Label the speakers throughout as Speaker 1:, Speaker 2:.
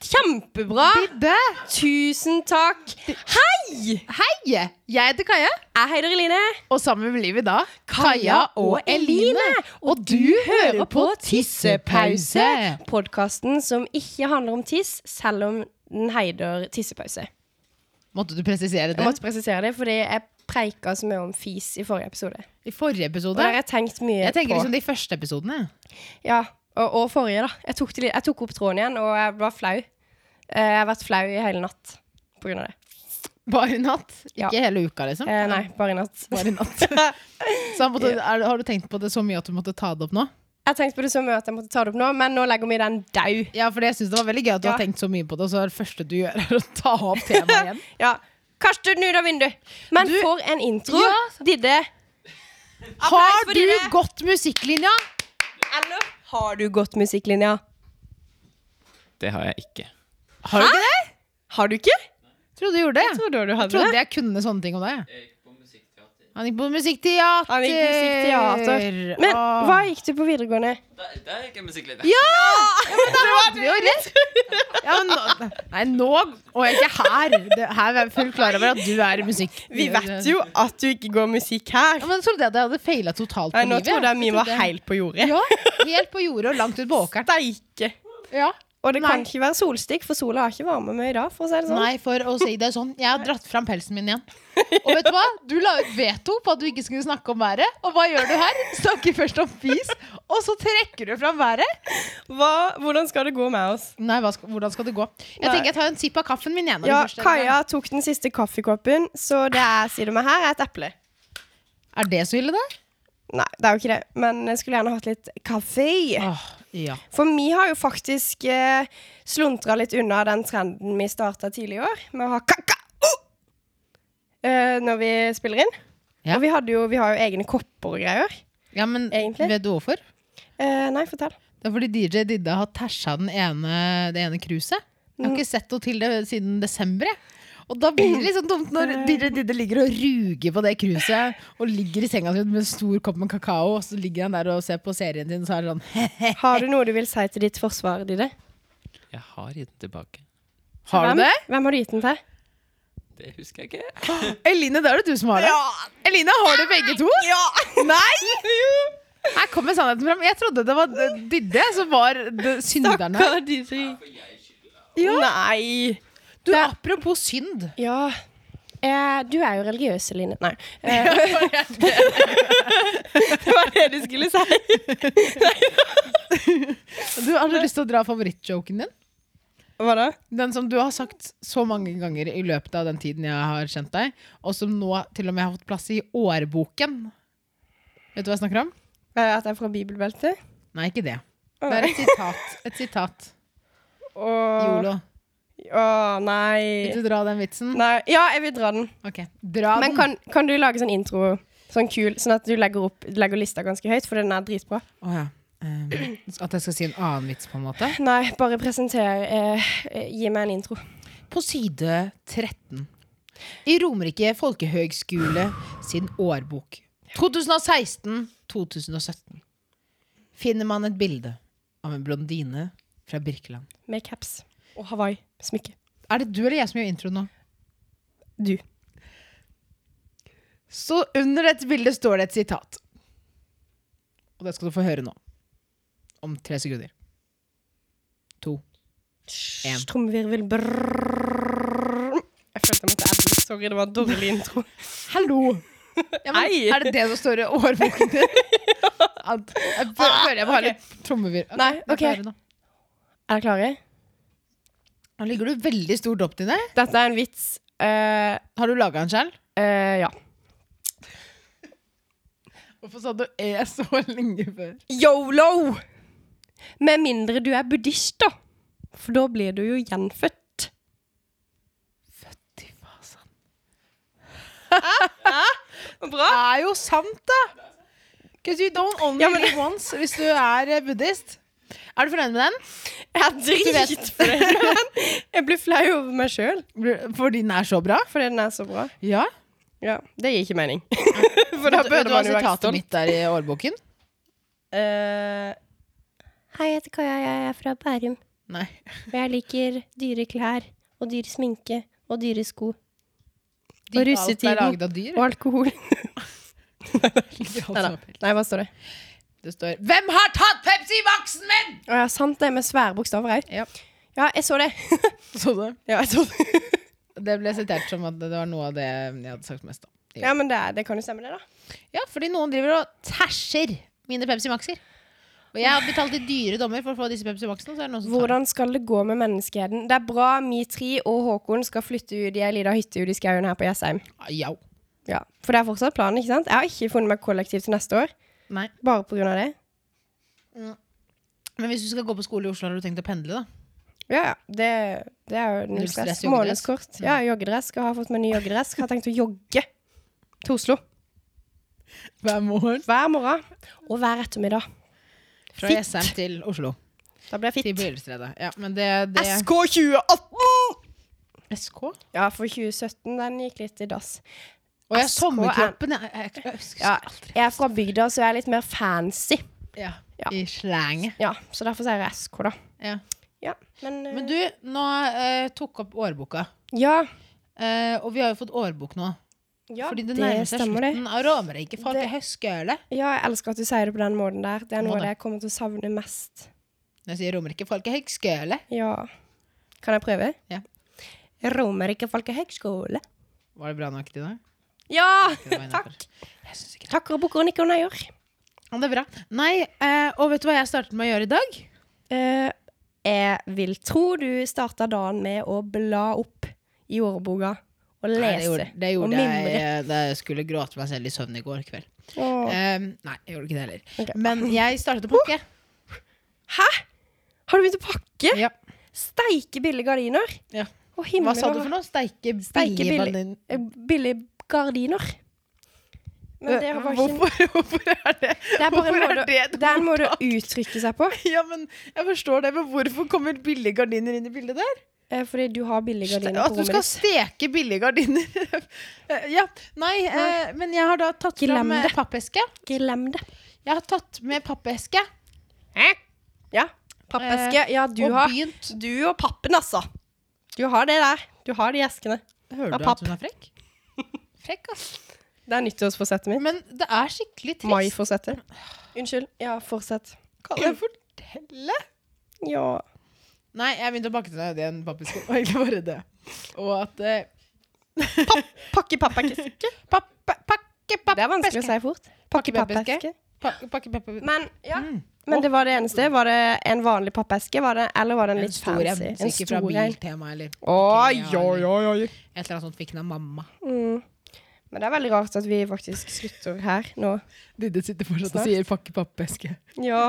Speaker 1: Kjempebra!
Speaker 2: Bidde!
Speaker 1: Tusen takk. Hei!
Speaker 2: Hei! Jeg heter Kaja,
Speaker 1: Jeg heter Eline.
Speaker 2: og sammen med livet da Kaja og Eline. Og du hører på Tissepause.
Speaker 1: Podkasten som ikke handler om tiss, selv om den heter Tissepause.
Speaker 2: Måtte du presisere
Speaker 1: Jeg
Speaker 2: det?
Speaker 1: måtte presisere det, fordi jeg preika så mye om fis i forrige episode.
Speaker 2: I forrige
Speaker 1: Og det
Speaker 2: episode?
Speaker 1: har jeg tenkt mye
Speaker 2: Jeg tenker
Speaker 1: på.
Speaker 2: liksom de første episodene.
Speaker 1: Ja, og, og forrige, da. Jeg tok, det litt, jeg tok opp tråden igjen, og jeg var flau. Eh, Jeg har vært flau i hele natt på grunn av det.
Speaker 2: Bare i natt?
Speaker 1: Ja.
Speaker 2: Ikke hele uka, liksom?
Speaker 1: Eh, nei, bare i natt.
Speaker 2: Bare i natt. Så han måtte, er, har du tenkt på det så mye at du måtte ta det opp nå?
Speaker 1: Jeg tenkte på det så mye at jeg måtte ta det opp nå, men nå legger vi den dau.
Speaker 2: Ja, for jeg synes det var veldig gøy at du
Speaker 1: Ja.
Speaker 2: har tenkt så mye på det, og så er det første du gjør, er å ta opp temaet igjen.
Speaker 1: Ja. Kast den ut av vinduet. Men
Speaker 2: Du-
Speaker 1: for en intro.
Speaker 2: Ja.
Speaker 1: Didde. Applaus
Speaker 2: Har
Speaker 1: for
Speaker 2: du
Speaker 1: Didde.
Speaker 2: gått musikklinja?
Speaker 1: Eller har du gått musikklinja?
Speaker 3: Det har jeg ikke.
Speaker 2: Har du ikke det?
Speaker 1: Har du ikke?
Speaker 2: Trodde du gjorde det.
Speaker 1: Trodde du
Speaker 2: Jeg trodde jeg kunne sånne ting om deg.
Speaker 3: Jeg gikk på musikkteater.
Speaker 2: Han gikk på musikkteater.
Speaker 1: Han gikk musikkteater. Men
Speaker 2: Åh.
Speaker 1: hva gikk du på videregående?
Speaker 3: Der, der gikk jeg musikklinja.
Speaker 2: Da hadde vi jo rett. Ja, men nå, nei, nå Og jeg er ikke her. Det, her er jeg fullt klar over at du er i musikk.
Speaker 1: at du ikke går musikk her.
Speaker 2: ja, Men trodde jeg at jeg hadde feila totalt på livet.
Speaker 1: helt på jordet.
Speaker 2: Ja, helt på jordet og langt ut på åkeren.
Speaker 1: Steike.
Speaker 2: Ja.
Speaker 1: Og det kan
Speaker 2: Nei.
Speaker 1: ikke være solstikk, for sola har ikke varma meg i dag. For å si det sånn.
Speaker 2: Nei, for å si det sånn. Jeg har dratt fram pelsen min igjen. Og vet du hva? Du la ut veto på at du ikke skulle snakke om været. Og hva gjør du her? Snakker først om fis, og så trekker du fram været.
Speaker 1: Hva, hvordan skal det gå med oss?
Speaker 2: Nei, hva skal, hvordan skal det gå? Jeg
Speaker 1: Nei.
Speaker 2: tenker jeg tar en sipp av kaffen min igjen. når
Speaker 1: Ja,
Speaker 2: vi først er i gang.
Speaker 1: Kaja tok den siste kaffekoppen, så det jeg sier om meg her, er et eple.
Speaker 2: Er det så ille, det?
Speaker 1: Nei, det er jo ikke det, men jeg skulle gjerne hatt litt kaffe.
Speaker 2: Åh, ja.
Speaker 1: For vi har jo faktisk eh, sluntra litt unna den trenden vi starta tidlig i år, med å ha kaka oh! eh, når vi spiller inn.
Speaker 2: Ja.
Speaker 1: Og vi, hadde jo, vi har jo egne kopper og greier.
Speaker 2: ja, men
Speaker 1: Egentlig?
Speaker 2: vet du hvorfor?
Speaker 1: Eh, nei, fortell.
Speaker 2: Det er fordi DJ Didde har tæsja den ene, det ene kruset. Jeg har ikke sett henne til det siden desember. jeg. Og da blir det litt sånn dumt når DJ Didde ligger og ruger på det kruset og ligger i senga si med en stor kopp med kakao, og så ligger han der og ser på serien sin, og så er det sånn he-he.
Speaker 1: Har du noe du vil si til ditt forsvar, Didde?
Speaker 3: Jeg har gitt den tilbake.
Speaker 2: Har du det?
Speaker 1: Hvem- Hvem har du gitt den til?
Speaker 3: Det husker jeg ikke.
Speaker 2: Eline, det er det du som har det. Eline, har du begge to? Nei! Her kommer sannheten fram. Jeg trodde det var Didde som var det- synderen her.
Speaker 1: Ja. Nei!
Speaker 2: Du, apropos synd.
Speaker 1: Ja. Eh, du er jo religiøs, Eline. Nei. Eh, det var det du skulle si.
Speaker 2: Du, har du lyst til å dra favorittjoken din?
Speaker 1: Hva da?
Speaker 2: Den som du har sagt så mange ganger i løpet av den tiden jeg har kjent deg, og som nå til og med har fått plass i årboken. Vet du hva jeg snakker om?
Speaker 1: Eh, At jeg er fra bibelbeltet.
Speaker 2: Nei, ikke det. Det er et sitat. Et sitat.
Speaker 1: Og
Speaker 2: Jolo.
Speaker 1: Å,
Speaker 2: Vil
Speaker 1: nei.
Speaker 2: du dra den vitsen?
Speaker 1: nei. Ja, jeg vil dra den.
Speaker 2: Ok, dra
Speaker 1: Men
Speaker 2: den.
Speaker 1: kan, kan du lage sånn intro, sånn kul, sånn at du legger, opp, legger lista ganske høyt, for den er dritbra?
Speaker 2: Å ja. Um, at jeg skal si en annen vits, på en måte?
Speaker 1: Nei, bare presenter eh, eh, Gi meg en intro.
Speaker 2: På side 13 i Romerike folkehøgskole sin årbok 2016-2017 finner man et bilde av en blondine fra Birkeland.
Speaker 1: Med caps og Hawaii-smykke.
Speaker 2: Er det du eller jeg som gjør introen nå?
Speaker 1: Du.
Speaker 2: Så under dette bildet står det et sitat. Og det skal du få høre nå. Om tre sekunder. To. En.
Speaker 1: Trommevirvel. Brrrr. Jeg følte jeg måtte adde. Sorry, det var en dårlig intro.
Speaker 2: Hallo! Ja, men,
Speaker 1: Hei!
Speaker 2: er det det som står i årboken din? At- Jeg fø- føler jeg må ha litt trommevir. Ok,
Speaker 1: Ah, Nei,
Speaker 2: jeg får
Speaker 1: ok.
Speaker 2: høre nå.
Speaker 1: Er dere klare?
Speaker 2: Nå ligger du veldig stort opp til det.
Speaker 1: Dette er en vits. Eh,
Speaker 2: Har du laga den selv?
Speaker 1: eh, ja.
Speaker 2: Hvorfor sa du E så lenge før?
Speaker 1: Yolo! Med mindre du er buddhist, da. For da blir du jo gjenfødt.
Speaker 2: Fy faen.
Speaker 1: Bra.
Speaker 2: Det er jo sant, da! Because you don't only
Speaker 1: Ja, men-
Speaker 2: live once hvis du er eh, buddhist. Er du fornøyd med den?
Speaker 1: Jeg er dritfornøyd. Jeg blir flau over meg sjøl
Speaker 2: Fordi den er så bra?
Speaker 1: fordi den er så bra.
Speaker 2: Ja.
Speaker 1: Ja, Det gir ikke mening. For da
Speaker 2: Vet
Speaker 1: burde
Speaker 2: du hva
Speaker 1: man jo være
Speaker 2: sitatet
Speaker 1: stolt.
Speaker 2: mitt er i årboken?
Speaker 1: Eh, Hei, jeg heter Kaja. Jeg er fra Bærum.
Speaker 2: Nei.
Speaker 1: Og jeg liker dyre klær og dyr sminke og dyre sko.
Speaker 2: Dyr-
Speaker 1: russetiden.
Speaker 2: Alt er laget av dyr.
Speaker 1: Og alkohol.
Speaker 2: Alt
Speaker 1: Nei da.
Speaker 2: som er pels.
Speaker 1: Nei, hva står det?
Speaker 2: Det står 'Hvem har tatt Pepsi Max-en min?!'
Speaker 1: Å ja, sant det, med svære bokstaver òg.
Speaker 2: Ja.
Speaker 1: Ja, jeg så det.
Speaker 2: Så det.
Speaker 1: Ja, jeg så det.
Speaker 2: det ble sitert som at det var noe av det jeg hadde sagt mest om.
Speaker 1: ja men det, er- det kan jo stemme, det, da.
Speaker 2: Ja, fordi noen driver og tæsjer mine Pepsi Max-er. Og jeg har betalt i dyre dommer for å få disse Pepsi Max-ene. Så er det noen som tar
Speaker 1: Hvordan skal det gå med menneskeheten? Det er bra Mitri og Håkon skal flytte ut i ei lita hytte ut i skauen her på Jessheim.
Speaker 2: dem. Ah, jau.
Speaker 1: Ja, For det er fortsatt planen, ikke sant? Jeg har ikke funnet meg kollektiv til neste år.
Speaker 2: Nei.
Speaker 1: Bare på grunn av det.
Speaker 2: Men hvis du skal gå på skole i Oslo, har du tenkt å pendle, da?
Speaker 1: Ja, ja. Det, det er jo
Speaker 2: Null stress,
Speaker 1: nullstress.
Speaker 2: joggedress.
Speaker 1: Månedskort. Ja, joggedress. Skal ha fått meg ny joggedress. Har tenkt å jogge til Oslo.
Speaker 2: Hver morgen.
Speaker 1: Hver morgen og hver ettermiddag.
Speaker 2: Fra
Speaker 1: Fitt.
Speaker 2: Jessheim til Oslo.
Speaker 1: Da blir jeg
Speaker 2: Til
Speaker 1: fitt.
Speaker 2: Bjølstredet. Ja, men det, det
Speaker 1: SK 2018!
Speaker 2: SK? Og
Speaker 1: Ja, for 2017 den gikk litt i dass.
Speaker 2: ja,
Speaker 1: SK er-
Speaker 2: sommerkroppen. Jeg, jeg, jeg, husker
Speaker 1: Ja,
Speaker 2: aldri.
Speaker 1: jeg er fra bygda, så jeg er litt mer fancy.
Speaker 2: Ja.
Speaker 1: Ja.
Speaker 2: I slanget.
Speaker 1: Ja, Så derfor sier jeg SK, da.
Speaker 2: Ja.
Speaker 1: Ja, men, eh,
Speaker 2: Men du, nå eh, tok opp årboka.
Speaker 1: Ja,
Speaker 2: Eh, og vi har jo fått årbok nå.
Speaker 1: ja
Speaker 2: fordi det
Speaker 1: det
Speaker 2: nærmer seg
Speaker 1: stemmer, det.
Speaker 2: slutten av Romerike
Speaker 1: Det-
Speaker 2: folkehøgskole.
Speaker 1: Ja, jeg elsker at du sier det på den måten der. Det er
Speaker 2: Må
Speaker 1: noe av
Speaker 2: det.
Speaker 1: det jeg kommer til å savne mest.
Speaker 2: Når jeg sier Romerike folkehøgskole
Speaker 1: Ja. Kan jeg prøve?
Speaker 2: Ja.
Speaker 1: Romerike folkehøgskole.
Speaker 2: Var det bra nok til deg?
Speaker 1: Ja!
Speaker 2: Det var innenfor.
Speaker 1: Takk.
Speaker 2: Jeg synes ikke det.
Speaker 1: Takker og bukker og nikker og nøyer.
Speaker 2: Ja, det er bra. Nei, eh, og vet du hva jeg startet med å gjøre i dag?
Speaker 1: Eh, jeg vil tro du starta dagen med å bla opp i ordboka og lese
Speaker 2: Nei, det gjorde, det
Speaker 1: og
Speaker 2: gjorde jeg
Speaker 1: mimre.
Speaker 2: eh, da jeg skulle gråte meg selv i søvn i går kveld.
Speaker 1: Åh.
Speaker 2: Eh, nei, jeg gjorde ikke det heller.
Speaker 1: Ok.
Speaker 2: Men jeg startet å pakke.
Speaker 1: Har du begynt å pakke?
Speaker 2: Ja.
Speaker 1: Steike billige gardiner.
Speaker 2: Ja.
Speaker 1: Å, himmel
Speaker 2: Hva sa du
Speaker 1: og-
Speaker 2: for noe? Steike
Speaker 1: Steike billig.
Speaker 2: billig.
Speaker 1: Eh, Billige gardiner. Men det, var ikke,
Speaker 2: hvorfor, hvorfor er det
Speaker 1: det er bare en
Speaker 2: hvorfor
Speaker 1: måte,
Speaker 2: er det et
Speaker 1: det er en måte å uttrykke seg på.
Speaker 2: Ja, men Jeg forstår det, men hvorfor kommer billige gardiner inn i bildet der?
Speaker 1: Eh, Fordi du har billige gardiner
Speaker 2: At
Speaker 1: på
Speaker 2: du
Speaker 1: rommet
Speaker 2: skal
Speaker 1: ditt.
Speaker 2: steke billige gardiner. Eh, ja, nei, eh, men jeg har da tatt
Speaker 1: Glem
Speaker 2: fram eh,
Speaker 1: det.
Speaker 2: pappeske.
Speaker 1: Glem det.
Speaker 2: Jeg har tatt med pappeske
Speaker 1: Ja. Pappeske. Eh, Ja, du
Speaker 2: og
Speaker 1: har
Speaker 2: begynt
Speaker 1: Du og pappen, altså. Du har det der. Du har de eskene.
Speaker 2: Hører
Speaker 1: du at
Speaker 2: hun er frekk? Frekk, ass.
Speaker 1: Det er nyttårsforsettet mitt.
Speaker 2: Men det er skikkelig trist.
Speaker 1: Maiforsettet. Unnskyld. Ja, fortsett.
Speaker 2: Kan jeg fortelle?
Speaker 1: Ja.
Speaker 2: Nei, jeg begynte å pakke til deg det en pappeske. Og egentlig bare det. Og at eh,
Speaker 1: Pakke pappeske.
Speaker 2: papp, Pakke pappeske.
Speaker 1: Det er vanskelig å si fort. Pakke
Speaker 2: Pakkepappeske.
Speaker 1: pappeske.
Speaker 2: Pakke, pakke, pappe-
Speaker 1: Men ja.
Speaker 2: Mm.
Speaker 1: Men det var det eneste. Var det en vanlig pappeske, var det, eller var det en
Speaker 2: En
Speaker 1: litt
Speaker 2: stor en,
Speaker 1: fancy?
Speaker 2: sikkert fra Biltema eller
Speaker 1: Oi,
Speaker 2: Ikea,
Speaker 1: oi,
Speaker 2: eller
Speaker 1: oi, oi.
Speaker 2: Et eller annet sånt fikk den av mamma.
Speaker 1: Mm. Men det er veldig rart at vi faktisk slutter her nå.
Speaker 2: Didde sitter fortsatt
Speaker 1: Snart.
Speaker 2: og sier 'pakke pappeske'.
Speaker 1: Ja.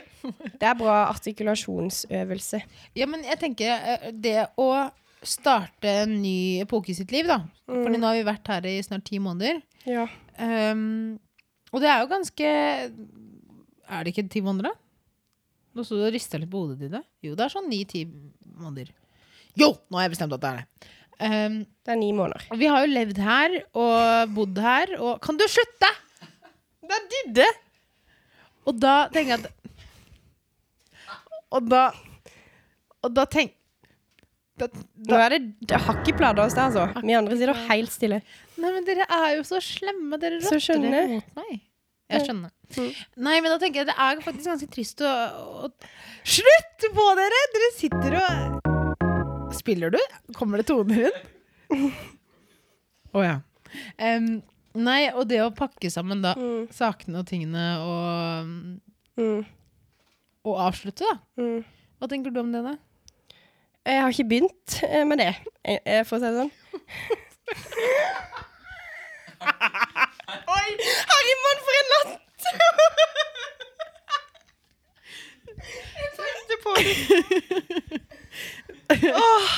Speaker 1: Det er bra artikulasjonsøvelse.
Speaker 2: Ja, men jeg tenker eh, det å starte en ny epoke i sitt liv, da. Fordi nå har vi vært her i snart ti måneder.
Speaker 1: Ja.
Speaker 2: Ehm, og det er jo ganske Er det ikke ti måneder, da? Nå sto du og rista litt på hodet ditt. da. Jo, det er sånn ni-ti måneder. Jo! Nå har jeg bestemt at det er det. Ehm,
Speaker 1: Det er ni måneder.
Speaker 2: og vi har jo levd her og bodd her og Kan du slutte?! Det er Didde! Og da tenker jeg at Og da Og da tenk... Da,
Speaker 1: Nå
Speaker 2: da,
Speaker 1: er det, det har ikke plada oss, det, altså. Vi andre sitter helt stille.
Speaker 2: nei, men dere er jo så slemme. Dere
Speaker 1: Så
Speaker 2: rotter dere
Speaker 1: skjønne.
Speaker 2: mot meg. Jeg skjønner.
Speaker 1: Mm.
Speaker 2: Nei, men da tenker jeg det er faktisk ganske trist å, å Slutt på dere! Dere sitter og Spiller du? Kommer det toner inn? Å ja. Em, nei, og det å pakke sammen da
Speaker 1: Mm.
Speaker 2: sakene og tingene og,
Speaker 1: Mm.
Speaker 2: og avslutte, da.
Speaker 1: Mm.
Speaker 2: Hva tenker du om det, da?
Speaker 1: Jeg har ikke begynt eh, med det, eh, eh, for å si det sånn. Oi! Herman, for en latter! Jeg tenkte på det. Åh,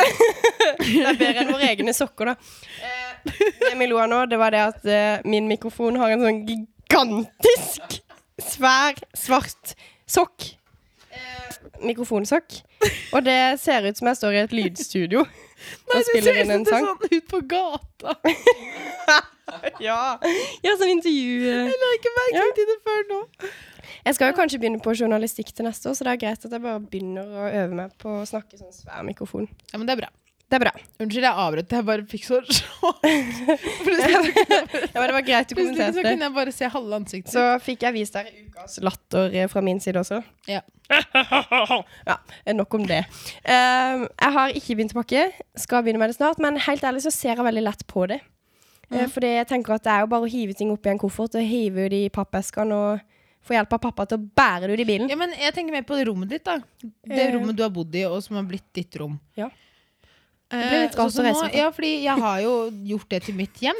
Speaker 1: det er bedre enn våre egne sokker, da. Eh, Det vi lo av nå, det var det at eh, min mikrofon har en sånn gigantisk, svær, svart Eh, sokk mikrofonsokk. Og det ser ut som jeg står i et lydstudio. Da spiller hun en sang.
Speaker 2: sånn ut på gata.
Speaker 1: Ja, ja som intervju.
Speaker 2: Jeg la ikke merke
Speaker 1: Ja.
Speaker 2: til det før nå.
Speaker 1: Jeg skal jo kanskje begynne på journalistikk til neste år, så det er greit at jeg bare begynner å øve meg på å snakke sånn svær mikrofon.
Speaker 2: Ja, men det er bra.
Speaker 1: Det er bra.
Speaker 2: Unnskyld, jeg avbrøt. Jeg bare fikk så sjokk.
Speaker 1: Ja,
Speaker 2: Plutselig
Speaker 1: men det var greit du
Speaker 2: plutselig så
Speaker 1: kommenterte.
Speaker 2: kunne jeg bare se halve ansiktet.
Speaker 1: Så fikk jeg vist dere ukas latter eh, fra min side også.
Speaker 2: Ja.
Speaker 1: ja, eh, nok om det. Um, jeg har ikke begynt å pakke. Skal begynne med det snart. Men helt ærlig så ser jeg veldig lett på det. Eh, Fordi jeg tenker at det er jo bare å hive ting opp i en koffert og hive ut i pappeskene og få hjelp av pappa til å bære det ut i bilen.
Speaker 2: Ja, men jeg tenker mer på rommet ditt, da. Det
Speaker 1: Eh.
Speaker 2: rommet du har bodd i, og som har blitt ditt rom. Eh,
Speaker 1: Ja.
Speaker 2: Det
Speaker 1: ble litt rart å reise fra.
Speaker 2: Ja, fordi jeg har jo gjort det til mitt hjem.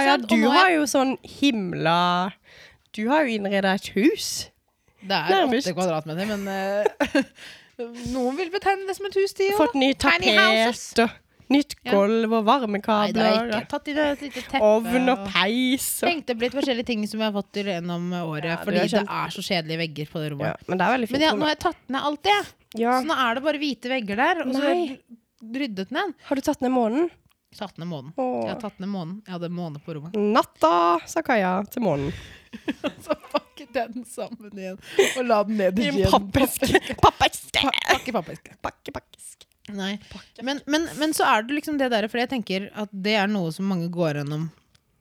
Speaker 2: Ikke
Speaker 1: ja,
Speaker 2: sant?
Speaker 1: du
Speaker 2: Og nå er-
Speaker 1: har jo sånn himla Du har jo innreda et hus.
Speaker 2: Det er
Speaker 1: Nærmest.
Speaker 2: åtte kvadratmeter, men eh, noen vil betegne det som et hus, de òg.
Speaker 1: Fått ny
Speaker 2: Tiny houses.
Speaker 1: tapet og nytt
Speaker 2: Ja.
Speaker 1: gulv
Speaker 2: Nei, det
Speaker 1: og
Speaker 2: har jeg
Speaker 1: varmekabler.
Speaker 2: ikke. Tatt i det et lite teppe.
Speaker 1: Ovn og
Speaker 2: og-
Speaker 1: peis og
Speaker 2: Tenkte på litt forskjellige ting som jeg har fått til gjennom året.
Speaker 1: Ja, du
Speaker 2: fordi
Speaker 1: har
Speaker 2: det
Speaker 1: skjønt.
Speaker 2: er så kjedelige vegger på det rommet.
Speaker 1: Ja, men det er veldig fint.
Speaker 2: Men ja, nå har jeg tatt ned alt det.
Speaker 1: ja.
Speaker 2: Så nå er det bare hvite vegger der. Og så har jeg ryddet ned.
Speaker 1: Har du tatt ned månen?
Speaker 2: Tatt ned månen.
Speaker 1: Åh.
Speaker 2: Jeg har tatt ned månen. Jeg hadde måne på rommet.
Speaker 1: Natta, sa Kaja til månen.
Speaker 2: Så pakket jeg den sammen igjen og la den ned
Speaker 1: I
Speaker 2: i
Speaker 1: en
Speaker 2: en
Speaker 1: pappeske. Pappeske!
Speaker 2: Pakke pappeske.
Speaker 1: Pakke, pakkeske.
Speaker 2: Nei. Men, men, men så er det liksom det der, for jeg tenker at det er noe som mange går gjennom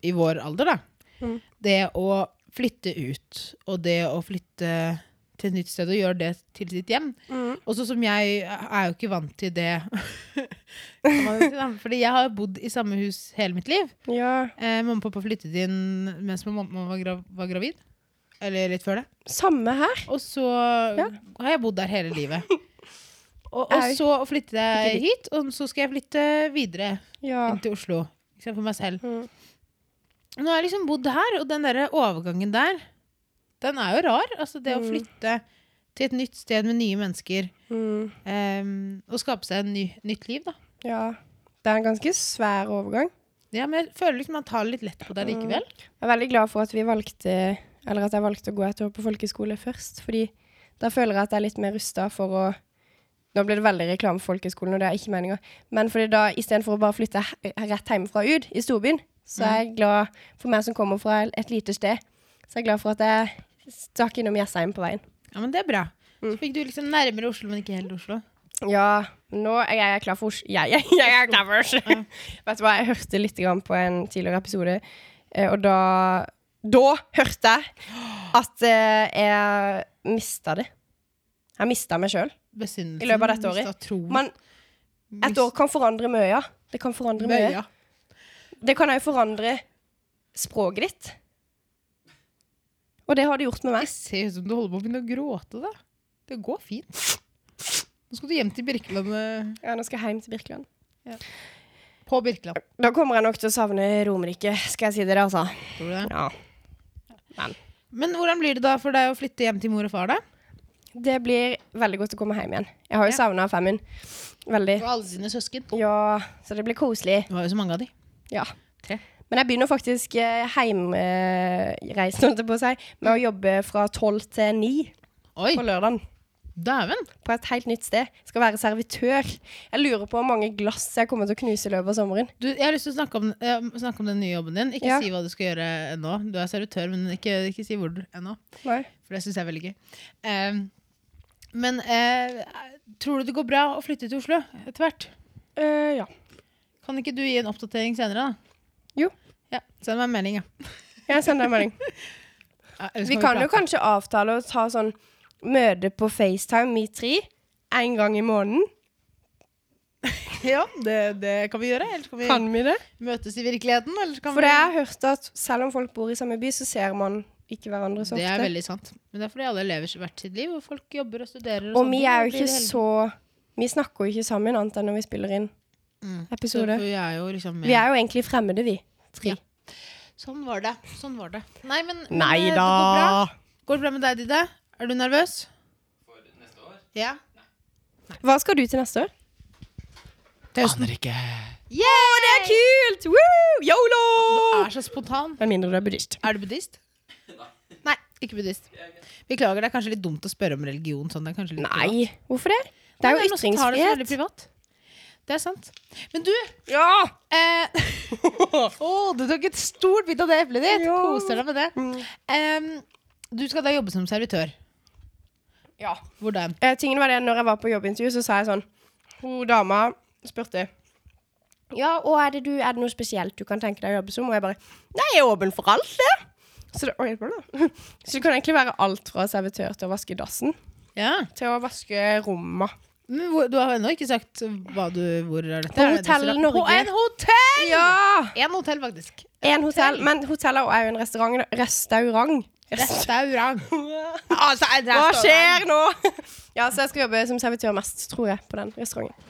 Speaker 2: i vår alder, da.
Speaker 1: Mm.
Speaker 2: Det å flytte ut, og det å flytte til et nytt sted og gjøre det til sitt hjem.
Speaker 1: Mm.
Speaker 2: Og så som jeg er jo ikke vant til det. kan man si, da. Fordi jeg har bodd i samme hus hele mitt liv.
Speaker 1: Ja.
Speaker 2: Eh, mamma og pappa flyttet inn mens mamma var, grav var gravid. Eller litt før det.
Speaker 1: Samme her.
Speaker 2: Og så
Speaker 1: Ja.
Speaker 2: har jeg bodd der hele livet. Og, og
Speaker 1: Au.
Speaker 2: så flyttet jeg hit, og så skal jeg flytte videre
Speaker 1: Ja.
Speaker 2: inn til Oslo. Ikke sant, for meg selv.
Speaker 1: Mm.
Speaker 2: Nå har jeg liksom bodd her, og den der overgangen der, den er jo rar. Altså det å
Speaker 1: Mm.
Speaker 2: flytte til et nytt sted med nye mennesker,
Speaker 1: Mm.
Speaker 2: em, og skape seg et ny, nytt liv, da.
Speaker 1: ja. Det er en ganske svær overgang.
Speaker 2: Ja, men jeg føler liksom man tar litt lett på
Speaker 1: Mm.
Speaker 2: det likevel.
Speaker 1: Jeg er veldig glad for at vi valgte Eller at jeg valgte å gå et år på folkehøyskole først. Fordi da føler jeg at jeg er litt mer rusta for å Nå ble det veldig reklame for folkehøyskolen, og det er ikke meninga. Men fordi da istedenfor å bare flytte he- rett hjemmefra ut, i storbyen, så er jeg glad for meg som kommer fra et lite sted. Så er jeg glad for at jeg stakk innom Jessheim på veien.
Speaker 2: Ja, men det er bra.
Speaker 1: Mm.
Speaker 2: Så fikk du liksom nærmere Oslo, men ikke helt Oslo.
Speaker 1: Ja, nå er jeg klar for Oslo. Jeg, jeg, jeg er klar for Oslo. Vet du hva, jeg hørte litt grann på en tidligere episode, eh, og da Da hørte jeg at eh, jeg mista det. Jeg mista meg sjøl.
Speaker 2: Besinnelsen.
Speaker 1: I løpet av dette året.
Speaker 2: mistet troen,
Speaker 1: Men et år kan forandre mye, ja. Det kan forandre mye.
Speaker 2: Møya.
Speaker 1: Det kan òg forandre språket ditt. Og det har det gjort med
Speaker 2: Det
Speaker 1: meg.
Speaker 2: ser ut som du holder på å begynne å gråte, da. Det går fint. Nå skal du hjem til Birkelandet.
Speaker 1: Ja, nå skal jeg hjem til Birkeland.
Speaker 2: På Birkeland,
Speaker 1: Da kommer jeg nok til å savne Romerike, skal jeg si dere, altså.
Speaker 2: tror du det?
Speaker 1: Ja.
Speaker 2: Men hvordan blir det da for deg å flytte hjem til mor og far, da?
Speaker 1: Det blir veldig godt å komme hjem igjen. Jeg har jo
Speaker 2: Ja.
Speaker 1: savna Femund. Veldig.
Speaker 2: Og alle sine søsken.
Speaker 1: Ja, så det blir koselig.
Speaker 2: Du har jo så mange av de.
Speaker 1: Ja.
Speaker 2: Tre.
Speaker 1: Men jeg begynner faktisk heimreisen, holdt jeg på å si, med å jobbe fra tolv til ni
Speaker 2: Oi,
Speaker 1: på lørdagen.
Speaker 2: dæven!
Speaker 1: På et helt nytt sted. Skal være servitør. Jeg lurer på hvor mange glass jeg kommer til å knuse i løpet av sommeren.
Speaker 2: Du, jeg har lyst til å snakke om, eh, snakke om den nye jobben din. Ikke
Speaker 1: Ja.
Speaker 2: si hva du skal gjøre ennå. Du er servitør, men ikke, ikke si hvor du- ennå.
Speaker 1: Nei.
Speaker 2: For det syns jeg er veldig gøy. Ehm, men eh, tror du det går bra å flytte til Oslo etter hvert?
Speaker 1: Eh, ja.
Speaker 2: Kan ikke du gi en oppdatering senere, da?
Speaker 1: Jo.
Speaker 2: Ja, Send meg en melding, ja.
Speaker 1: Jeg sender deg en melding.
Speaker 2: Ja, eller så
Speaker 1: Vi
Speaker 2: kan
Speaker 1: kan jo
Speaker 2: prate.
Speaker 1: kanskje avtale å ta sånn møte på FaceTime, vi tre, en gang i måneden.
Speaker 2: Ja, det, det kan vi gjøre. Eller så kan vi
Speaker 1: Kan vi det?
Speaker 2: møtes i virkeligheten. Eller så kan
Speaker 1: For det
Speaker 2: vi...
Speaker 1: jeg har hørt at selv om folk bor i samme by, så ser man ikke hverandre så ofte.
Speaker 2: Det er veldig sant. Men det er fordi alle lever hvert sitt liv, og folk jobber og studerer.
Speaker 1: og
Speaker 2: sånn,
Speaker 1: vi
Speaker 2: da
Speaker 1: er jo
Speaker 2: blir
Speaker 1: ikke
Speaker 2: det hele-
Speaker 1: så Vi snakker jo ikke sammen annet enn når vi spiller inn
Speaker 2: Mm. Så
Speaker 1: episode.
Speaker 2: vi er jo liksom med.
Speaker 1: Vi er jo egentlig fremmede, vi. Tre.
Speaker 2: Ja. Sånn var det. Sånn var det. Nei, men, men
Speaker 1: Nei
Speaker 2: eh, det
Speaker 1: da!
Speaker 2: går bra. Går det bra med deg, Didde? Er du nervøs?
Speaker 3: For neste år?
Speaker 2: Ja.
Speaker 1: Hva skal du til neste år?
Speaker 2: Til høsten.
Speaker 3: Aner ikke.
Speaker 1: Det er kult! Woo! Yolo!
Speaker 2: Er så spontan.
Speaker 1: Med mindre du er buddhist.
Speaker 2: Er du buddhist? Nei, ikke buddhist. Beklager, det er kanskje litt dumt å spørre om religion sånn. Det er kanskje litt privat.
Speaker 1: Nei, hvorfor det? Det er jo
Speaker 2: Nei, men noen som tar det så veldig
Speaker 1: ytringsfrihet.
Speaker 2: privat. Det er sant. Men du
Speaker 1: Ja!
Speaker 2: eh, Å, du tok et stort bit av det eplet ditt!
Speaker 1: Ja. Mm.
Speaker 2: Koser deg med det. Em, du skal da jobbe som servitør.
Speaker 1: ja.
Speaker 2: Hvordan?
Speaker 1: Eh, tingen var det, når jeg var på jobbintervju, så sa jeg sånn Hun dama spurte Ja, og er det, du, er det noe spesielt du kan tenke deg å jobbe som? Og jeg bare Nei, jeg er åpen for alt, det. Så det, oi, hva da? så det kan egentlig være alt fra servitør til å vaske dassen
Speaker 2: Ja.
Speaker 1: til å vaske romma.
Speaker 2: Men hvor, du har ennå ikke sagt hva du, hvor er dette
Speaker 1: På
Speaker 2: Er det
Speaker 1: Hotell
Speaker 2: restaurant?
Speaker 1: Norge.
Speaker 2: På en hotell!
Speaker 1: Ja!
Speaker 2: En hotell, faktisk.
Speaker 1: En hotell. Men hoteller er jo en restaurant. da. Restaurant.
Speaker 2: Restaurant.
Speaker 1: Hva skjer nå? ja, så jeg skal jobbe som servitør mest, tror jeg, på den restauranten.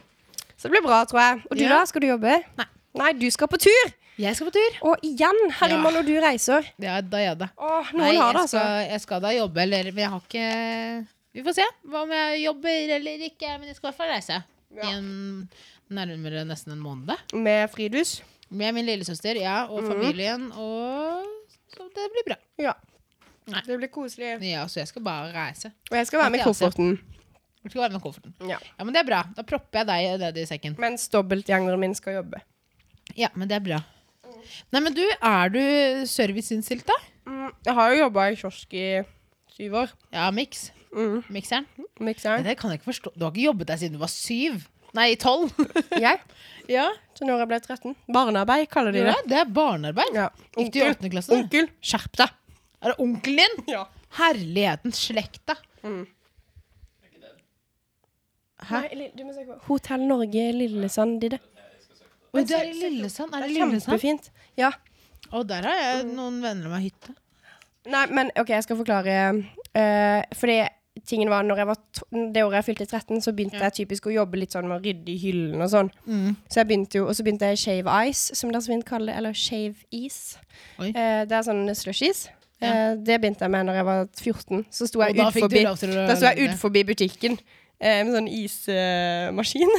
Speaker 1: Så det blir bra, tror jeg. Og du
Speaker 2: Ja.
Speaker 1: da? Skal du jobbe?
Speaker 2: Nei.
Speaker 1: Nei, du skal på tur!
Speaker 2: Jeg skal på tur.
Speaker 1: Og igjen, Herman, når du reiser.
Speaker 2: Ja, da, ja, da.
Speaker 1: Åh, noen
Speaker 2: Nei,
Speaker 1: har det,
Speaker 2: jeg
Speaker 1: altså.
Speaker 2: skal, jeg skal da jobbe, eller men jeg har ikke Vi får se hva om jeg jobber eller ikke, men jeg skal i hvert fall reise. I en, nærmere nesten en måned.
Speaker 1: Med fridus.
Speaker 2: Med min lillesøster, ja, og
Speaker 1: Mm.
Speaker 2: familien, og så det blir bra.
Speaker 1: Ja.
Speaker 2: Nei.
Speaker 1: Det blir koselig.
Speaker 2: Ja, så jeg skal bare reise.
Speaker 1: Og jeg skal være med i
Speaker 2: Ok, altså.
Speaker 1: kofferten.
Speaker 2: Jeg skal være med kofferten.
Speaker 1: Ja.
Speaker 2: Ja, men det er bra. Da propper jeg deg ned i sekken.
Speaker 1: Mens dobbeltgjengeren min skal jobbe.
Speaker 2: Ja, men det er bra. Nei, men du, er du serviceinnstilt, da?
Speaker 1: Mm, jeg har jo jobba i kiosk i syv år.
Speaker 2: Ja, miks.
Speaker 1: Mm.
Speaker 2: Mikseren.
Speaker 1: Mikseren.
Speaker 2: Det kan jeg ikke forstå. Du har ikke jobbet der siden du var syv? Nei, tolv.
Speaker 1: Jeg.
Speaker 2: ja.
Speaker 1: Så når jeg ble 13. Barnearbeid kaller de
Speaker 2: ja,
Speaker 1: det.
Speaker 2: det er barnearbeid.
Speaker 1: Ja.
Speaker 2: Gikk du i åttende klasse, da?
Speaker 1: Onkel, skjerp deg!
Speaker 2: Er det onkelen din?
Speaker 1: Ja.
Speaker 2: Herligheten, slekta. Hæ?
Speaker 1: Nei, li- du må søke på Hotell Norge Lillesand, Didde.
Speaker 2: Oi, det er i Lillesand. Er det Lillesand?
Speaker 1: Kjempefint. Mm. Ja.
Speaker 2: Å, der har jeg noen venner med hytte.
Speaker 1: Nei, men OK, jeg skal forklare. eh, fordi tingen var når jeg var to det året jeg fylte 13, så begynte jeg typisk å jobbe litt sånn med å rydde i hyllen og sånn.
Speaker 2: Mm.
Speaker 1: Så jeg begynte jo, Og så begynte jeg i Shave Ice, som det er så fint å kalle det. Eller Shave Is.
Speaker 2: Oi.
Speaker 1: Eh, det er sånn slushies. Eh, det begynte jeg med når jeg var 14. Så sto jeg
Speaker 2: Og da fikk du
Speaker 1: utforbi
Speaker 2: lov til å
Speaker 1: Da sto jeg
Speaker 2: lage det.
Speaker 1: ut forbi butikken eh, med sånn ismaskin.